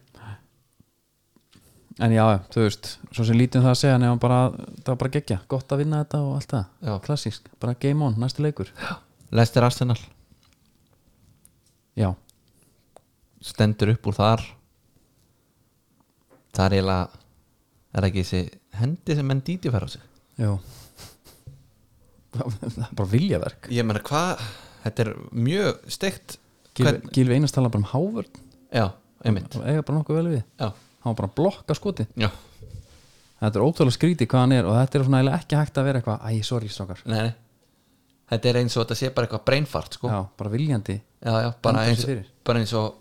en já, já, þú veist, svo sem lítið um það að segja nefnum bara, það var bara geggja, gott að vinna þetta og allt það,
Já.
klassísk, bara game on, næsti leikur
Lester Arsenal
já,
Stendur upp úr þar Það er eiginlega Er það ekki þessi hendi sem menn dýti fær á sig
já það er (laughs) bara viljaverk
Ég meina hvað Þetta er mjög steikt
Gylfi Gylfi Einars tala bara um Hávörn
Já, einmitt
og eiga bara nokkuð vel við,
Já,
hann var bara að blokka skoti
já
þetta er ótrúlega skrítið hvað hann er og þetta er svona eiginlega ekki hægt að vera eitthvað, æ, sorry strákar
Nei, nei Þetta er eins og þetta sé bara eitthvað brainfart sko
já, bara viljandi,
já, já, bara,
Enda
eins,
sér fyrir.
bara eins og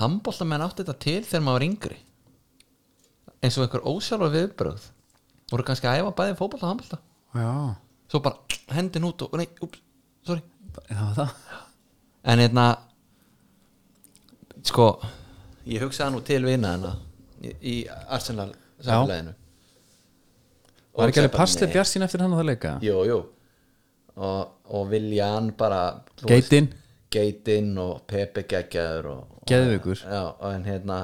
handbóltamenn átti þetta til þegar maður var yngri eins og einhver ósjálfur viðbrögð voru kannski að æfa bæði fótbolta og handbólta
já
svo bara hendin út og nei, ups, sorry
það var það,
en hérna sko, ég hugsaði nú til vina hérna í, í Arsenal
var
samfélaginu
ekki
Og
alveg
sagði bara,
passli
nei.
bjart sín eftir hann á það leika
Jú, jú og, og Viljan bara
Geitinn.
Geitinn og Pepe geggjaður og, og,
Geðveikur.
Já, og en hérna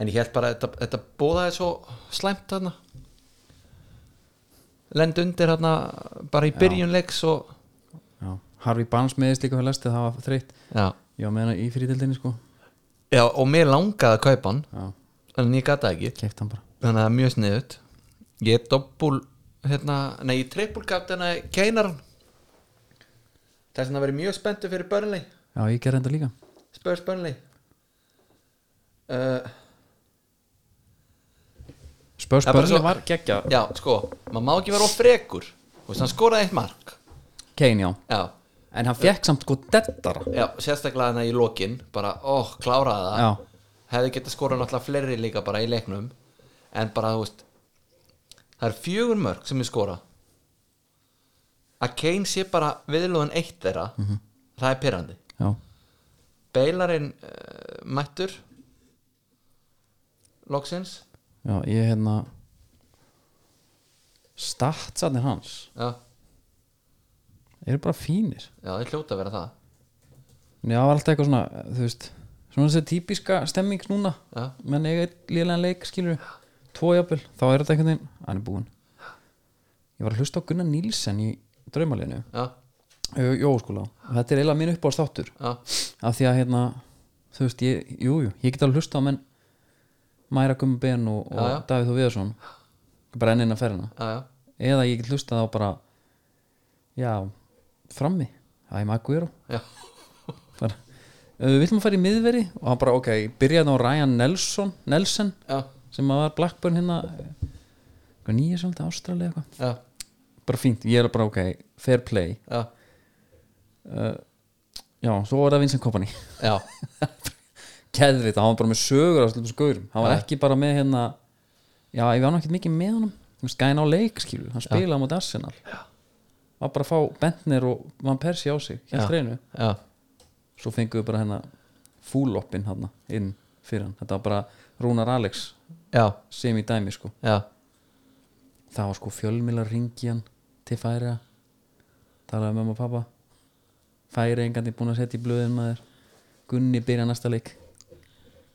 en ég held bara að þetta, þetta bóðaði svo slæmt hérna lend undir hérna bara í byrjun leiks og
já. Harvey Barnes meðist líka fyrir lestið, það var þreytt
já,
Já, með hana í fyrirtildinni sko
já og mér langaði að kaupa hann
Já,
en ég gata ekki
keift hann bara
þannig að það er mjög sniðut ég er doppul hérna, nei ég trippul gata hérna keinar hann þess að það verið mjög spenntu fyrir börnleik
Já, ég gerði þetta líka
Spurs Burnley uh,
Spurs
Það er bara
Burnley
svo-
var geggja
Já, sko, maður má ekki vera of frekur Þú veist, hann skoraði eitt mark
Kane, já
Já,
En hann fekk samt sko dettara
já sérstaklega hann í lokin bara, ó, kláraði það
Já.
Hefði getað skorað náttúrulega fleiri líka bara í leiknum En bara, þú veist Það er fjögur mörg sem ég skora Að Kane sé bara viðlóðan eitt þeirra Það er pyrrandi
Já,
Beilarinn uh, mættur Loksins
já, ég hérna Statsarnir hans
Já,
Eru bara fínir
já, það er hljóta að vera það
En Já, það var alltaf eitthvað svona, þú veist Svona þessi típiska stemming núna
Já.
Menn eiga einn lélegan leik, skilur Tvo jafnvel, þá er þetta einhvern veginn Hann er búinn Ég var að hlusta á Gunnar Nílsen í draumaleginu
já,
Jóskúla og sko. þetta er eiginlega minn upp á státtur
já,
af því að hérna þú veist, ég, jú, jú, ég get alveg hlusta á menn Mæra Gummi Ben og, og
Já, já.
Davíð Þú Viðarsson bara ennina ferðina
já, já,
eða ég get hlusta á bara já, frammi það er maður guður
já,
bara, "Ef við viljum að fara í miðveri og hann bara, ok, ég byrjaði á Ryan Nelson Nelson,
já,
sem að var Blackburn hérna eitthvað nýja svolítið ástrali eitthvað
já,
bara fínt, ég er bara, ok, fair play
já,
já, svo var það Vincent Kompany (laughs)
já,
keðvita, hann var bara með sögur af slúttum skaurum, hann var ekki bara með hérna já, ég var nú ekkert mikið með honum Þú veist, gæna á leik, skilur, hann spilaði á móti Arsenal já. var bara að fá Bentner og Van Persie á sig,
Já.
hér treinu
já,
svo fengum við bara hérna fúloppin hann inn fyrir hann þetta var bara Rúnar Alex
já,
sem í dæmi sko,
já,
það var sko fjölmila ringi hann til færiða talaði með mamma og pappa færiða engandi búin að setja í blöðin maður Gunni byrja næsta leik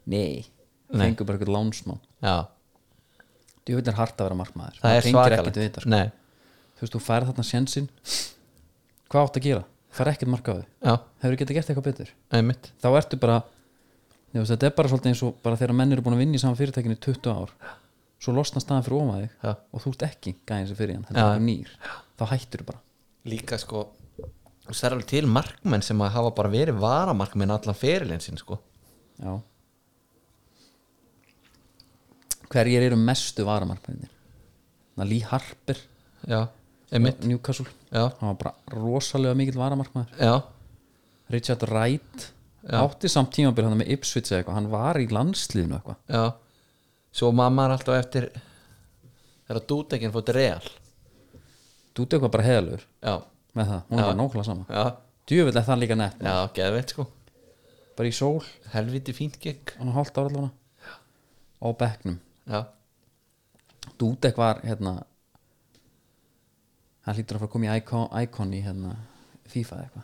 nei,
Nei.
fengum bara eitthvað lánsmann
já,
Þú veit er hart að vera markmaður
það er
tengir
svakalegt
ekkert við þetta, sko.
Nei,
Þú veist, þú færð þarna sjensin Hvað átt að gera? Færð ekkert markaðu
já,
Hefur getað gert eitthvað betur?
einmitt,
Þá ertu bara þú veist, Þetta er bara svolítið eins og bara þegar menn eru búin að vinna í saman fyrirtækinu í 20 ár Svo losna staðan fyrir ofan þig
Já.
Og þú ert ekki gæðin sem fyrir hann
Já.
Þetta er nýr Þá hættur þú bara
líka sko og það er alveg til markmenn sem að hafa bara verið varamarkmenn allan ferilinn sinn sko
Já hverjir eru mestu varamarkmennir Lee Harper
já, einmitt
Newcastle,
já,
hann var bara rosalega mikill varamarkmæður
já,
Richard Wright
Já.
átti samt tímabil hann með Ipswich eða eitthvað hann var í landsliðinu eitthvað
já svo mamma er alltaf eftir þegar dútekin fótt real
Dúti eitthvað bara heðalur
já,
með það, hún
Já.
var bara nákvæmlega sama
já,
djöfull er það líka nett,
já, geðveit sko
bara í sól
helviti fínt gig
hann hálft ára allavega á bekknum
já,
Dudek var hérna hann hlýtur að fara að koma í Icon, Icon í hérna FIFA eða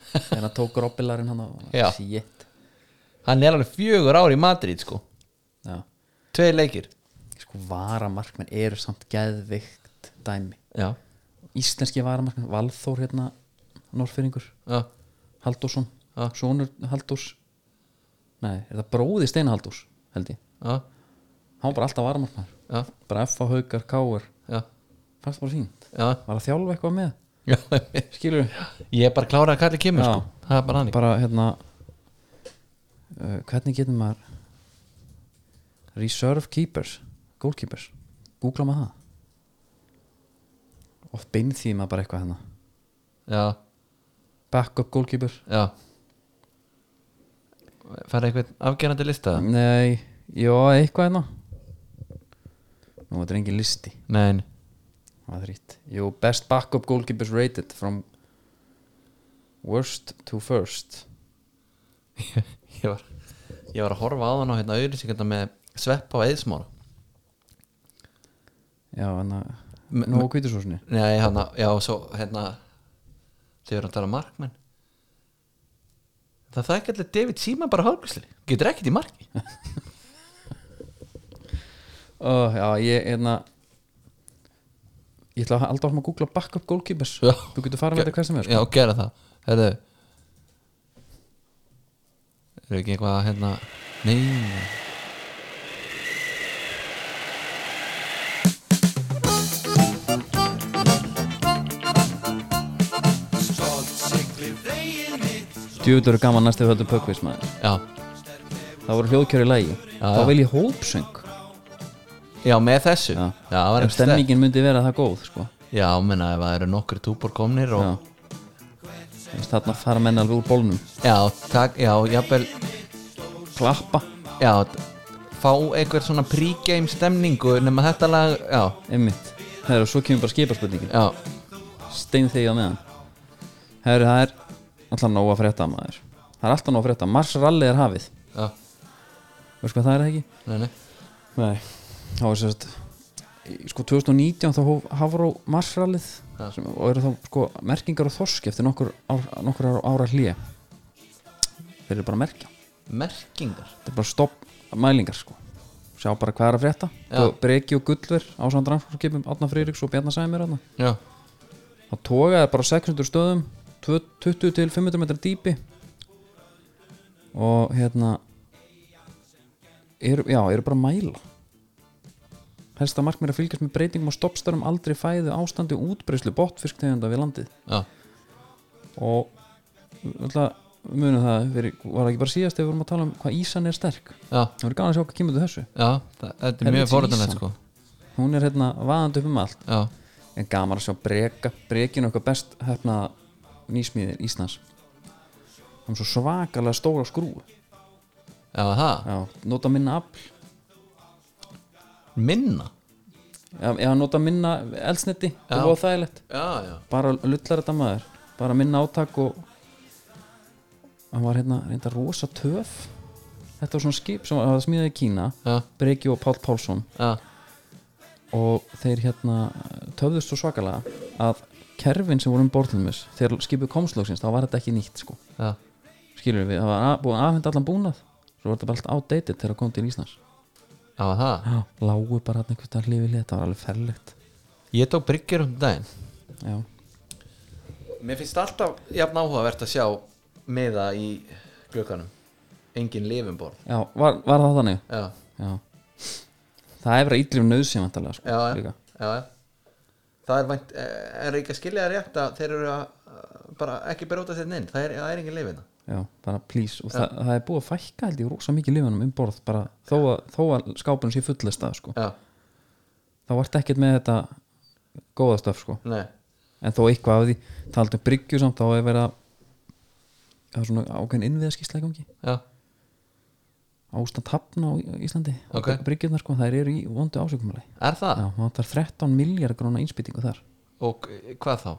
(laughs)
eitthvað þegar hann tók robbilarinn hann og
Já.
shit
hann er alveg fjögur ár í Madrid sko
já.
tvei leikir
sko varamarkmenn eru samt geðvikt dæmi
já,
íslenski varamarkmenn, Valþór hérna Norfyrringur,
já,
Halldórsson
Já.
Sónur Halldórs nei, er það bróði Steina Halldórs held ég,
já,
hann var bara alltaf varamarkmenn
já,
bara F.A. Haukar, K.R.
já,
fannst bara fínt,
já,
var að þjálfa eitthvað með
já (laughs) einmitt.
skilur við
ég er bara klárað að kalli kemur
Já.
sko það er bara hann
bara hérna uh, hvernig getur maður reserve keepers goalkeepers, googla maður það og bein því maður bara eitthvað hérna
já,
backup goalkeeper,
já fara eitthvað afgerandi lista mm.
nei já, eitthvað hérna nú þetta er engin listi,
nein,
það er rýtt jú, best backup goalkeepers rated from worst to first
ég var ég var að horfa á hann á hérna auðlýsingarna með sveppa og eðsmára
já, hérna
M-
nú á kvítusósunni
nei, hann já, og svo hérna þau eru að tala um markmenn það þekki allir David Seaman bara hálfgrísli getur ekkert í marki
Uh, já, ég, hérna Ég ætla að halda áfram að googla backup goalkeepers
Já.
Þú getur farið með þetta hvað sem er sko.
Já, gera það Herðu Eru ekki eitthvað að hérna Nei
Djúður eru gaman næstu höldum pökkvís maður
Já,
Það voru hljóðkjör í lægi Þá
já.
vil ég hópsöng
já með þessu Já, það var
Ef
ekki stemming
stemmingin myndi vera það góð sko.
Já, menna ef það eru nokkri túbor komnir
Já
og,
Þess, Þarna fara menn alveg úr bólnum
Já, takk, já, jafnvel
Klappa,
Já, d- fá einhver svona pregame stemningu nema þetta lag Já,
einmitt Herru, svo kemur bara skiparspurningin
já,
Stein þegja meðan Herru, það er alltaf nóg að frétta maður Það er alltaf nóg að frétta Mars rally er hafið
já
Veistu hvað það er það ekki?
Nei, nei
Nei, þá er sérst sko 2019 þá hóf Hafró marsralið
Já.
sem, og eru þá sko merkingar og þorski eftir nokkur, ár, nokkur ára, ára hlýja þeir eru bara að merkja
Merkingar
þetta er bara stopp mælingar sko sjá bara hvað er að frétta
Já.
og Breki og Gullver á samt rannskipum Átna Friðriks og Bjarnar Sæmir þarna.
Já,
þá togaði bara 600 stöðum tvö- 20 til 500 metrar dýpi og hérna eru, já, eru bara að mæla helsta markmið er að fylgjast með breytingum og stoppstörum aldrei fæðu ástandi og útbreyslu botfisktegunda við landið
já,
og alltaf munum það fyrir, var það ekki bara síðast ef við vorum að tala um hvað ísan er sterk
já,
það verður gaman að sjá hvað kemur til þessu
já það, Þetta er
Helvíti
mjög
vísan.
forðanlegt sko
hún er hérna vaðandi upp um allt
Já,
en gaman að sjá breka brekin okkar best hefna nýsmíðir Íslands hann er svo svakalega stóra skrúu
já, það
já, nota minna afl
Minna
já, já, nota minna eldsneti það
Já.
var þægilegt,
Já, já
bara lullar þetta maður bara minna átak og hann var hérna reynda rosa töf þetta var svona skip sem var smíðið í Kína
Já,
Breki og Páll Pálsson
já,
og þeir hérna töfðust svo svakalega að kerfin sem voru um borðlumis þegar skipið komslóksins, þá var þetta ekki nýtt sko
já,
skilur við, það var að- búið að afhenda allan búnað svo var þetta bara allt outdated þegar það kom til Íslands
já, það
já, lágu bara hann einhvern veginn hlifið þetta var alveg ferlegt
Ég tók bryggjur um daginn
já,
Mér finnst alltaf jafn áhugavert að sjá miða í glögganum Engin lifumborð
já var, var það þannig
Já,
já. það er bara ítlif nöðsinn vantarlega sko,
já, já,
líka.
já, já. Það er vænt, eh, er ekki að skilja það rétt að þeir eru að eh, bara ekki bróta sér inn, það er, það er engin lifina
já, bara please og það, það er búið að fækka held ég rosa mikið lifanum um borð bara þó að, þó að skápunum sé fullist að sko.
já,
þá vart ekkert með þetta góða stöf sko.
nei
en þó eitthvað af því taldum bryggju samt þá er verið að það er svona ákveðin innviðaskísla í gangi
já,
ástand hafna á Í- Íslandi
Ok.
bryggjunar sko, þær eru í vondu ásökumali
er það?
já, það er 13 miljard gróna innspýtingu þar
og eh, hvað þá?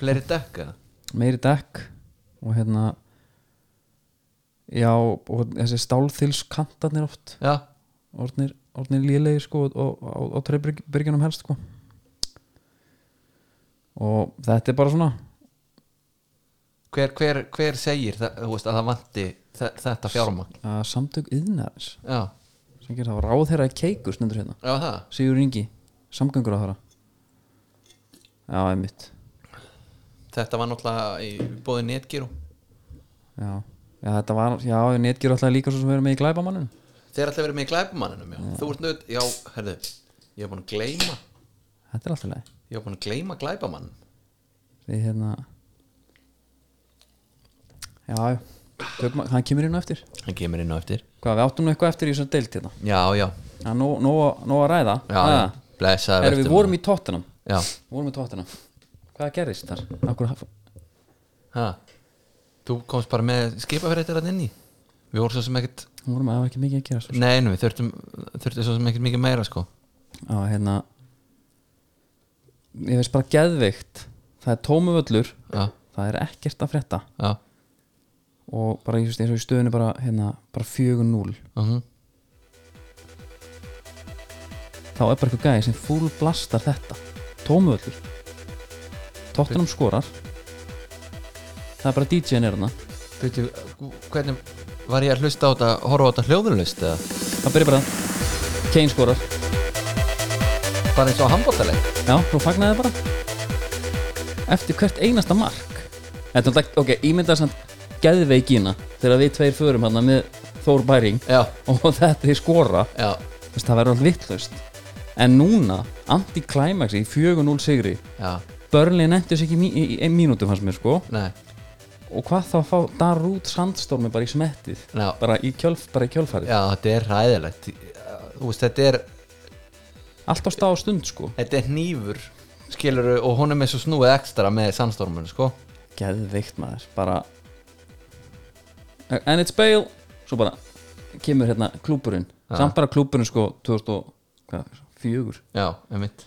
fleiri dekk eða?
meiri dekk og hérna já, og þessi stálþilskantarnir oft
já,
orðnir, orðnir lélegir sko og, og, og, og treybryggjunum helst sko og þetta er bara svona
hver, hver, hver segir það, þú veist, að það vanti þe- þetta fjármagn?
að samtök yðnaðins
já,
sem gerir það ráð þeirra í keikur stendur hérna
já það
Sigur Ingi, samgöngur á þeirra já, einmitt
þetta var náttúrulega í bóði netgíru
já, já þetta var, já, netgjur alltaf líka svo sem við erum með í glæbamannin
þeir alltaf verið með í glæpumanninum já. þú ert nöð, já, herðu ég er búin að gleyma
þetta er alltaf leið
ég er búin að gleyma glæpamann
við hérna já, já Tökum, að- hann kemur inn á eftir
hann kemur inn á eftir
hvað, við áttum nú eitthvað eftir í þessar deilt hérna
já, já,
það er nóg- nóg nóg að ræða
já, já. blessaður
Erum við
vertu
vorum
maður.
í tóttunum
já,
vorum í tóttunum hvað gerðist þar? Akkur,
ha þú komst bara með skipafréttir að inn í við vorum svo sem ekkert
vorum að það var ekki mikið að gera svo.
nei, nei, við þurftum, þurftum svo sem ekkert mikið meira sko
á, hérna ég veist bara geðveikt það er tómu völlur
já,
það er ekkert að frétta
já,
og bara ég veist eins og í stöðunni bara hérna, bara 4-0
mhm
þá er bara eitthvað gæði sem full blastar þetta tómu völlur tóttunum skorar það er bara DJ-in er hana
Veitu, hvernig var ég að hlusta á þetta, horfa á þetta hljóðunlust eða?
það byrja bara Kane skorar
Bara eins og handbóttaleg?
Já, þú fagnaði bara Eftir hvert einasta mark Þetta er alltaf, ok, ímyndaði samt geðveikina þegar við tveir förum hérna með Þór Bæring (laughs)
Já,
og þetta er skora
já,
Þess, það verður allt vittlust en núna, anti-climaxi í 4-0 sigri
já,
Börnli nefntu sér ekki mí- í, í, í mínútu fannst mér sko
nei,
og hvað þá að fá Darút Sandstormi bara í smettið
Já.
bara í, kjölf, bara í kjölfarið
já, þetta er ræðilegt Þú veist, þetta er,
allt á stað og stund sko
þetta er hnífur skilur, og hún er með svo snúið ekstra með sandstormun, sko
geðveikt maður bara Eh, and it's Bale svo bara kemur hérna klúburinn
Ja.
samt bara klúburinn sko 2004
Já, einmitt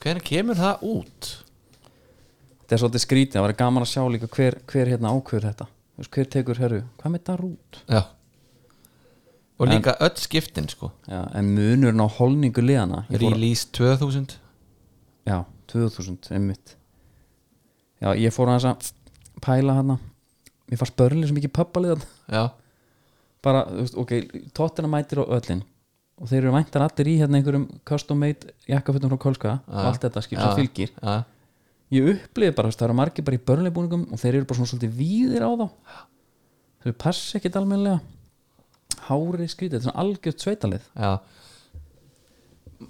Hvernig kemur það út?
þetta er svolítið skrítið, það var gaman að sjá líka hver, hver hérna ákveður þetta Þú veist, hver tekur herru, hvað með þetta rút
Já Og líka öll skiptin, sko
já, en munurinn á holningu liðana ég fór-
Release 2000
já, 2000, einmitt já, ég fór aðeins að pæla hérna mér fannst börnlega sem ekki pöppaliðan
Já,
bara, þú veist, ok, tóttina mætir á öllin og þeir eru væntar allir í hérna einhverjum custom made jakkafutum frá Kolska og allt þetta skil sem
Já.
fylgir
já,
ég upplifi bara, þú veist, það eru margir bara í börnleibúningum og þeir eru bara svona svolítið víðir á þá þau passi ekkit almennilega hárið skrítið, þetta er svona algjört sveitalið
já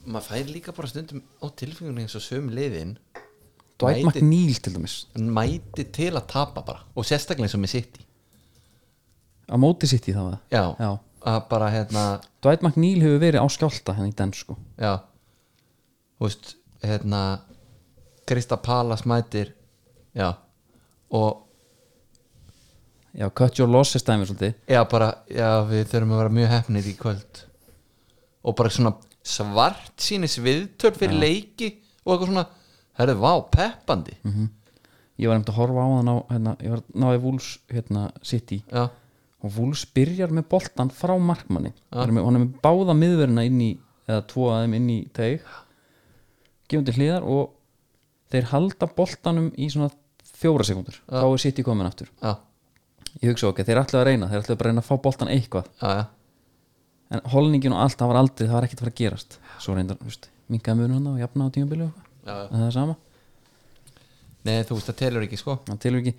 Maður fær líka bara stundum á tilfingunni eins og söm liðin
Dwight
Mæti-
McNeil til dæmis,
hann mæti til að tapa bara og sérstaklega eins og með sitt í
á móti sitt í það var það.
já,
Já.
að bara hérna
Dwight McNeil hefur verið á skjálta hérna í den sko
já, þú veist hérna Krista Palas mætir já, og
já, cut your losses dæmi svolítið
já bara, já við þurfum að vera mjög hefnir í kvöld og bara svona svart sínis viðtöl fyrir leiki og eitthvað svona herðu, vá, peppandi
Mhm. ég var nefnt að horfa á það ná, hérna, ég var náði Wolves hérna, City
já,
og Wolves byrjar með boltan frá markmanni
Ah.
ja. með, hann er með báða miðverina inn í eða tvo aðeim inn í teig gefum til hliðar og þeir halda boltanum í svona fjóra sekundur,
Ah.
þá er sitt í komin aftur
já,
ég hugsa ok, þeir ætlaðu að reyna, þeir ætlaðu bara að reyna að fá boltan eitthvað,
já, já
en holningin og allt það var aldrei, það var ekkert að fara að gerast svo reyndar, þú veist, minkaði munum hann og jafna á tímabili og eitthvað,
Já, já.
en það er sama
nei, þú veist, það telur ekki, sko
það tilur ekki,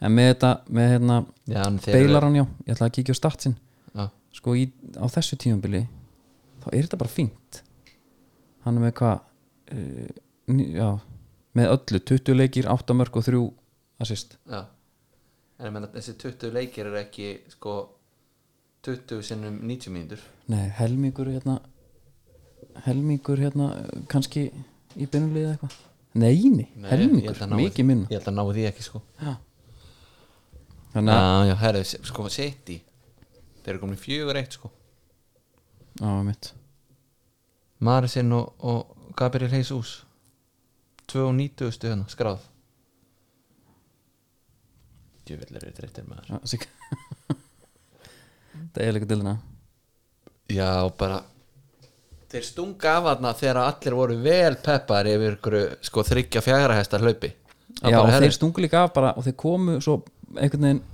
en með þetta með hérna,
já, hann telur-
beilar hann já, ég ætlaði að kíkja á statsin
já,
sko í, á þessu tímabili þá er þetta bara fínt hann er með hvað uh, já, með öllu, 20 leikir 8 mörg og 3 assist
já en ég menna þessi 20 leikir er ekki sko 20 sinnum 90 mínútur
Nei, helmingur hérna helmingur hérna kannski í byrjumlið eða eitthvað Nei, nei,
Nei, ég
helmingur,
held að ná-
mikið minna
ég held að ná því ekki sko
Já. Þannig að,
já, já, herri, sko City þeir eru komin fjögur eitt sko
á mitt
Marisinn og, og Gabriel Jesus 2 og 90 hérna, skráð djúvill eru þreyttir með
Já, (laughs) sig- Það er líka til hérna
Já, bara Þeir stunga af hana þegar allir voru vel peppar yfir ykkur sko þryggja fjara hesta hlaupi Það
Já,
bara,
og
herri,
þeir stungu líka af bara og þeir komu svo einhvern veginn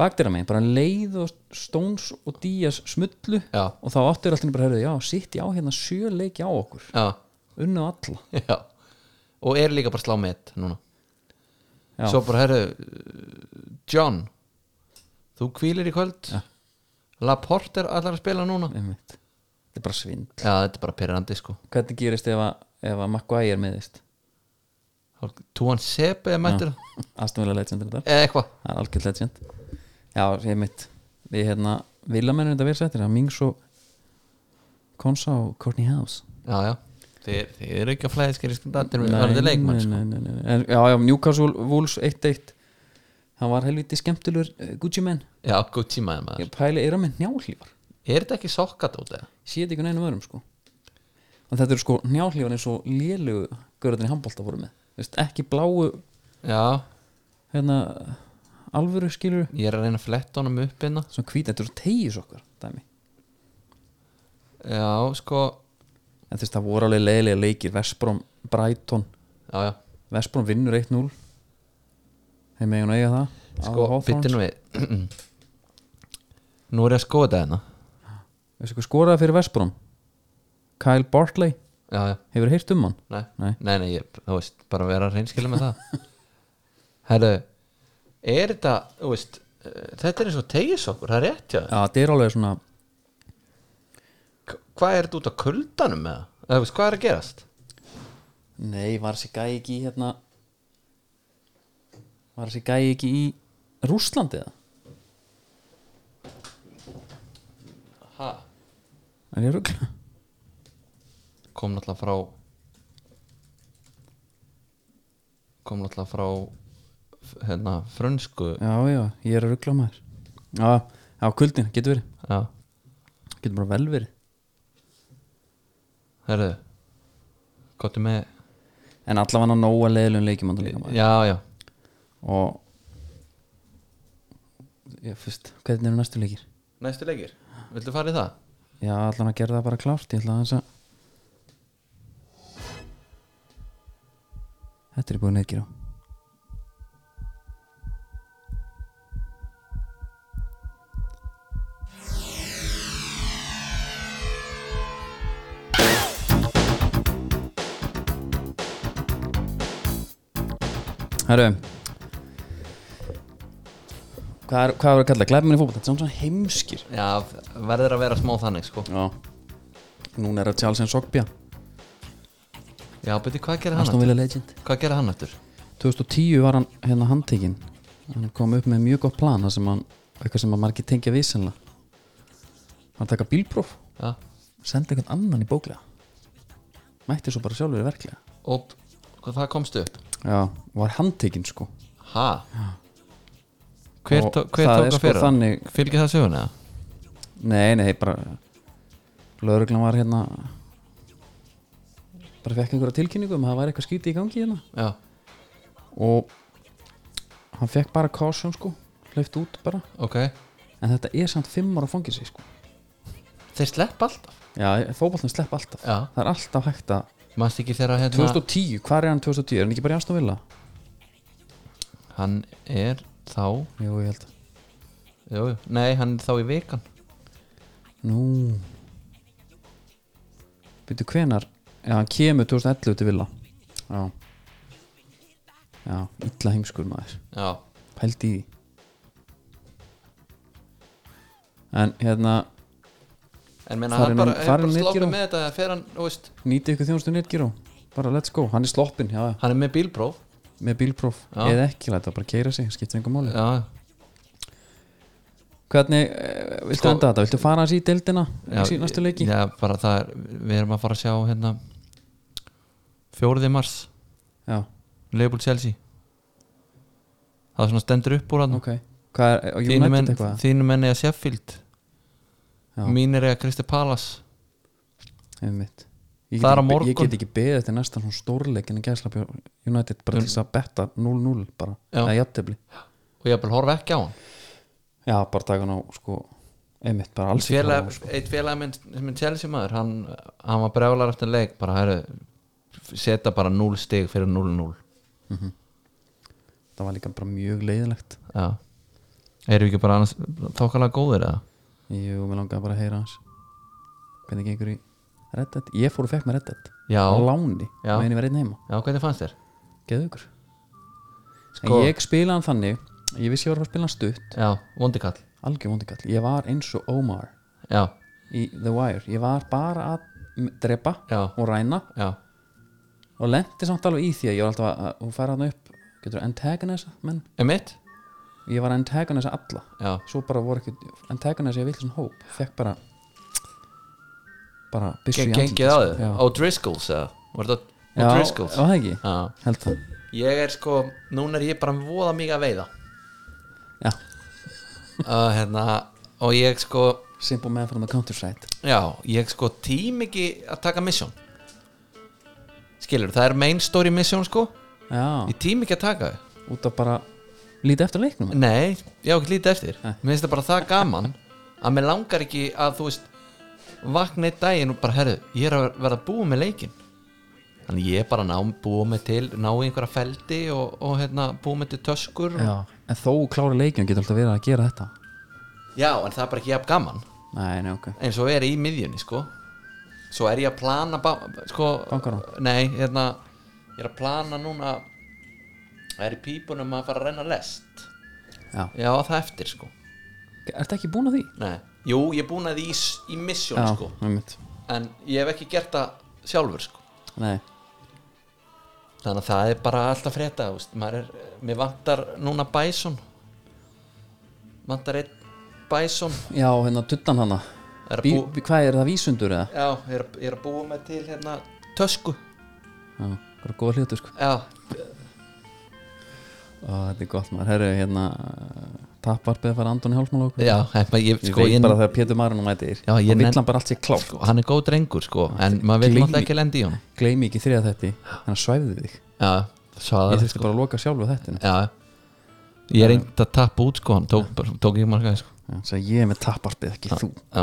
bakdýra megin, bara leið og Stones og Díaz smullu
Já.
og þá áttu er alltaf bara að höfðu, já, sitt á hérna sjö leiki á okkur,
já,
unnu alla
já Og er líka bara að slá met núna
Já.
Svo bara, herru John Þú hvílir í kvöld já. Laporte er allar að spila núna Já,
Einmitt. Þetta er bara svind
þetta er bara pyrrandi sko
Hvernig gerist ef að, ef að Maguire meðist?
Túan Sepe er mættur
Astonvilla legend er þetta
Eða eitthvað
Það er algjörð legend Já, ég mitt Við hérna, vilamennir þetta verið sættir að Mings og Konsa og Courtney House
Já, já Þeir, þeir eru ekki að flæði skerist Þetta
Nei,
er leikmann
nei,
sko
nei, nei, nei. En, Já, já, Newcastle Wolves 1-1 Það var helviti skemmtilegur uh, Gucci menn
Já, góð tímaði maður
Ég pæli er að með njálhlífar
Er þetta ekki sokkadót eða?
Ég Sé þetta ekki neinum öðrum sko En þetta eru sko njálhlífar eins og lélugu Görðin í handbólta voru með Þú veist, Ekki bláu
Já,
hérna, alvöru skilur
Ég er að reyna að fletta honum upp hérna
Svona hvít, þetta eru tegis okkar dæmi.
Já, sko
En þess það voru alveg leiðilega leikir Vespróm, Brighton
Já, já
Vespróm vinnur 1-0 Þeim eigin að eiga það
Sko, byttu nú við (clears throat) Nú er ég að skoða þetta hérna
Þessi hvað skoraði fyrir Vespróm Kyle Bartley
Já, já
Hefur heyrt um hann?
Nei,
Nei.
nei, nei ég, þú veist, bara vera að reynskilja með
(laughs)
það Herru Er þetta, þú veist eh, Þetta er eins og tegis okkur, það er rétt já
Já, þetta er alveg svona
K- Hvað er þetta út á kuldanum með það? Eða, þú veist, hvað er að gerast?
Nei, var þessi gæi ekki í hérna Var þessi gæi ekki í Rússlandi eða?
Ha?
Er ég að rugla?
Kom náttúrulega frá Kom náttúrulega frá f- Hérna, frönsku
Já, já, ég er að rugla maður Já, já, kuldin, getur verið
Já
Getur bara vel verið
Herðu Kottu með
En allavega nóga leiðilegum leikjum þarna líka, maður.
Já, já
og ég fyrst, hvernig eru næstu leikir?
Næstu leikir Viltu fara í það?
Já, allan að gera það bara klárt ég ætla aðeins að Þetta er búin leikir á Herru Hvað er, hvað er að kalla? Glæfum í fótbolta, þetta er svona heimskir
Já, verður að vera smá þannig sko
Já Núna er að Charles N. Sogbja
Já, beti, hvað gerir hann
Aston
aftur?
Villa Legend
Hvað gerir hann aftur?
2010 var hann hérna handtekinn Hann kom upp með mjög gott plan þar sem hann, eitthvað sem að margir tengja vísanlega Hann taka bílpróf
Já
Sendi einhvern annan í bóklega Mætti svo bara sjálfur í verklega
Og hvað það komst upp?
Já, var handtekinn sko
Ha? Hver,
Og
tó,
það er
hver tók að
sko
fyrir?
þannig-
Fylgir það söguna? eða?
Nei, nei, bara Lögreglan var hérna Bara fekk einhverja tilkynningu um að það væri eitthvað skýti í gangi hérna
Já
Og hann fekk bara caution sko Hlauft út bara
Ok
En þetta er samt fimm ára fangilsi sko
Þeir slepp alltaf
Já, fótboltin slepp alltaf
Já.
Það er alltaf hægt að
Manst ekki þegar að hérna
2010, hvað er hann 2010? Er hann ekki bara í Aston Villa?
Hann er þá
Jú, ég held
Jú, jú. nei, hann er þá í vikan
Nú Býttu hvenar Já, hann kemur 2011 til Villa Já Já, illa heimskur maður
Já
Pældi í því En hérna
En meina,
Farin
hann bara,
hann-
hann
farin
bara
hann
sloppið
netgíró?
með þetta Fer hann, þú veist
Nýti ykkur þjónustu netgíró Bara let's go, hann er sloppin Já, já.
Hann er með bílpróf
með bílpróf
Já.
eða ekki, læta það bara keira sig, skiptir einhver máli
já,
Hvernig, eh, viltu
Sko-
enda þetta? Viltu fara hans í deildina
já,
í næstu leiki?
já, bara það er, við erum að fara að sjá hérna fjóruði mars
Já,
Leopold Chelsea það er svona stendur upp úr hann
ok Hvað er, og
þínu menn,
United eitthvað?
þínu menn eða Sheffield
Já.
mín er eða Kristi Palace
Einmitt. Ég get ekki
Það er á
be-
morgun.
Ég get ekki beðið eftir næsta svona stórleikin en gæsla bjó United bara til þess að betta 0-0 bara,
Já.
eða jafntefli
og ég vil horfa ekki á hann
Já, bara taka hann á sko einmitt, bara alls ekki
Félag,
á, sko.
eitt félag minn, minn Chelsea maður hann, hann var brjálar eftir leik bara heru, seta bara 0 stig fyrir 0-0
Það var líka bara mjög leiðilegt
já erum við ekki bara annars þokkalega góðir eða
Jú, mér langaði bara að heyra hans Hvernig gengur í Red Dead? Ég fór og fekk með Red Dead
Já.
Á láni,
Já.
meðan ég var einn heima
já hvernig fannst þér
Geðu ykkur
Sko-
En ég spilaði hann þannig Ég vissi ég var að fara að spila hann stutt
já vondikall
Algjör vondikall Ég var eins og Omar
já
í The Wire Ég var bara að m- drepa
Já.
og ræna
já
og lendi samt alveg í því að ég var alltaf að- að hún færa hann upp getur þú antagonisa menn
emitt
ég var að antagonisa alla
já
svo bara voru ekki antagonisa ég vill svona hóp fekk bara bara byssu
Gen-
í andlitið,
gengið á
sko.
þig
já,
á Driscolls eða var þetta á
já
Driscolls
var það ekki
já
held það
ég er sko núna er ég bara voða mikið að veiða
já
uh, hérna og ég sko
simple man from the countryside
Já, ég sko tím ekki að taka mission Skilur, það er main story mission sko
já
Ég tím ekki að taka þau
út af bara lítið eftir leiknum
Nei, ég á ekki lítið eftir
Nei.
Mér finnst það bara það gaman Að mér langar ekki að þú veist Vakna einn daginn og bara herðu Ég er að vera að búa með leikinn Þannig ég er bara að ná, búa mig til Ná í einhverja feldi og, og hérna, búa mig til töskur og...
já en þó klára leikjum getur alltaf verið að gera þetta
Já, en það er bara ekki jafn gaman
nei, nei, ok
eins og er í miðjunni sko svo er ég að plana ba- sko,
Bankarán?
nei, hérna ég er að plana núna það er í pípunum að fara að reyna lest
já
já, það eftir sko
ertu ekki búin að því?
nei. jú, ég er búin að því í, s- í misjón sko
einmitt.
en ég hef ekki gert það sjálfur sko
nei
þannig að það er bara alltaf frétta þú veist, maður er, mér vantar núna bæsum vantar einn bæsum
Já, hérna tuttan hana
Er að
Bí,
bú-
bí, Hvað er það vísundur eða?
já, ég er, ég er að búa mig til hérna tösku
Já, það er góða hlutur sko
já,
Ó, Þetta er gott maður, herru, hérna Tapparpið að fara Andoni Hálsmála okkur
já, en ég,
Ég
sko,
veit
ég,
bara þegar Pétur Marun mætir
Já, ég
Þá vill
nenn-
hann bara allt sér klárt
sko, hann er góð drengur sko, en maður vil
Gleymi-
náttúrulega ekki lendi í honum
Gleimi ekki þriða þetta, þannig að svæfðu þig
já, sko.
Ég
svaðar
þurfti bara að loka sjálfu þetta
já, ég reyndi að tappa út sko, hann tók, bara, tók ekki marga sko.
Svo ég er með tapparpið, ekki þú
já,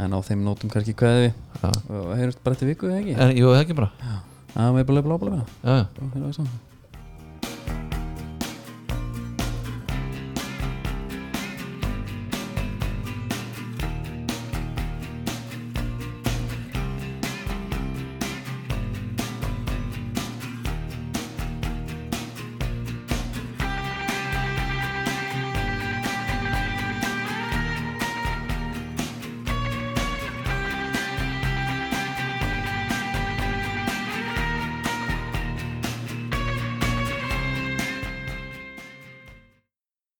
En á þeim nótum kannski kveði við
Já.
Og heyrjumst bara eftir viku, eða ekki?
er, jú, það ekki bara
Já, við erum bara að leifla ábúlega
já, já,
vera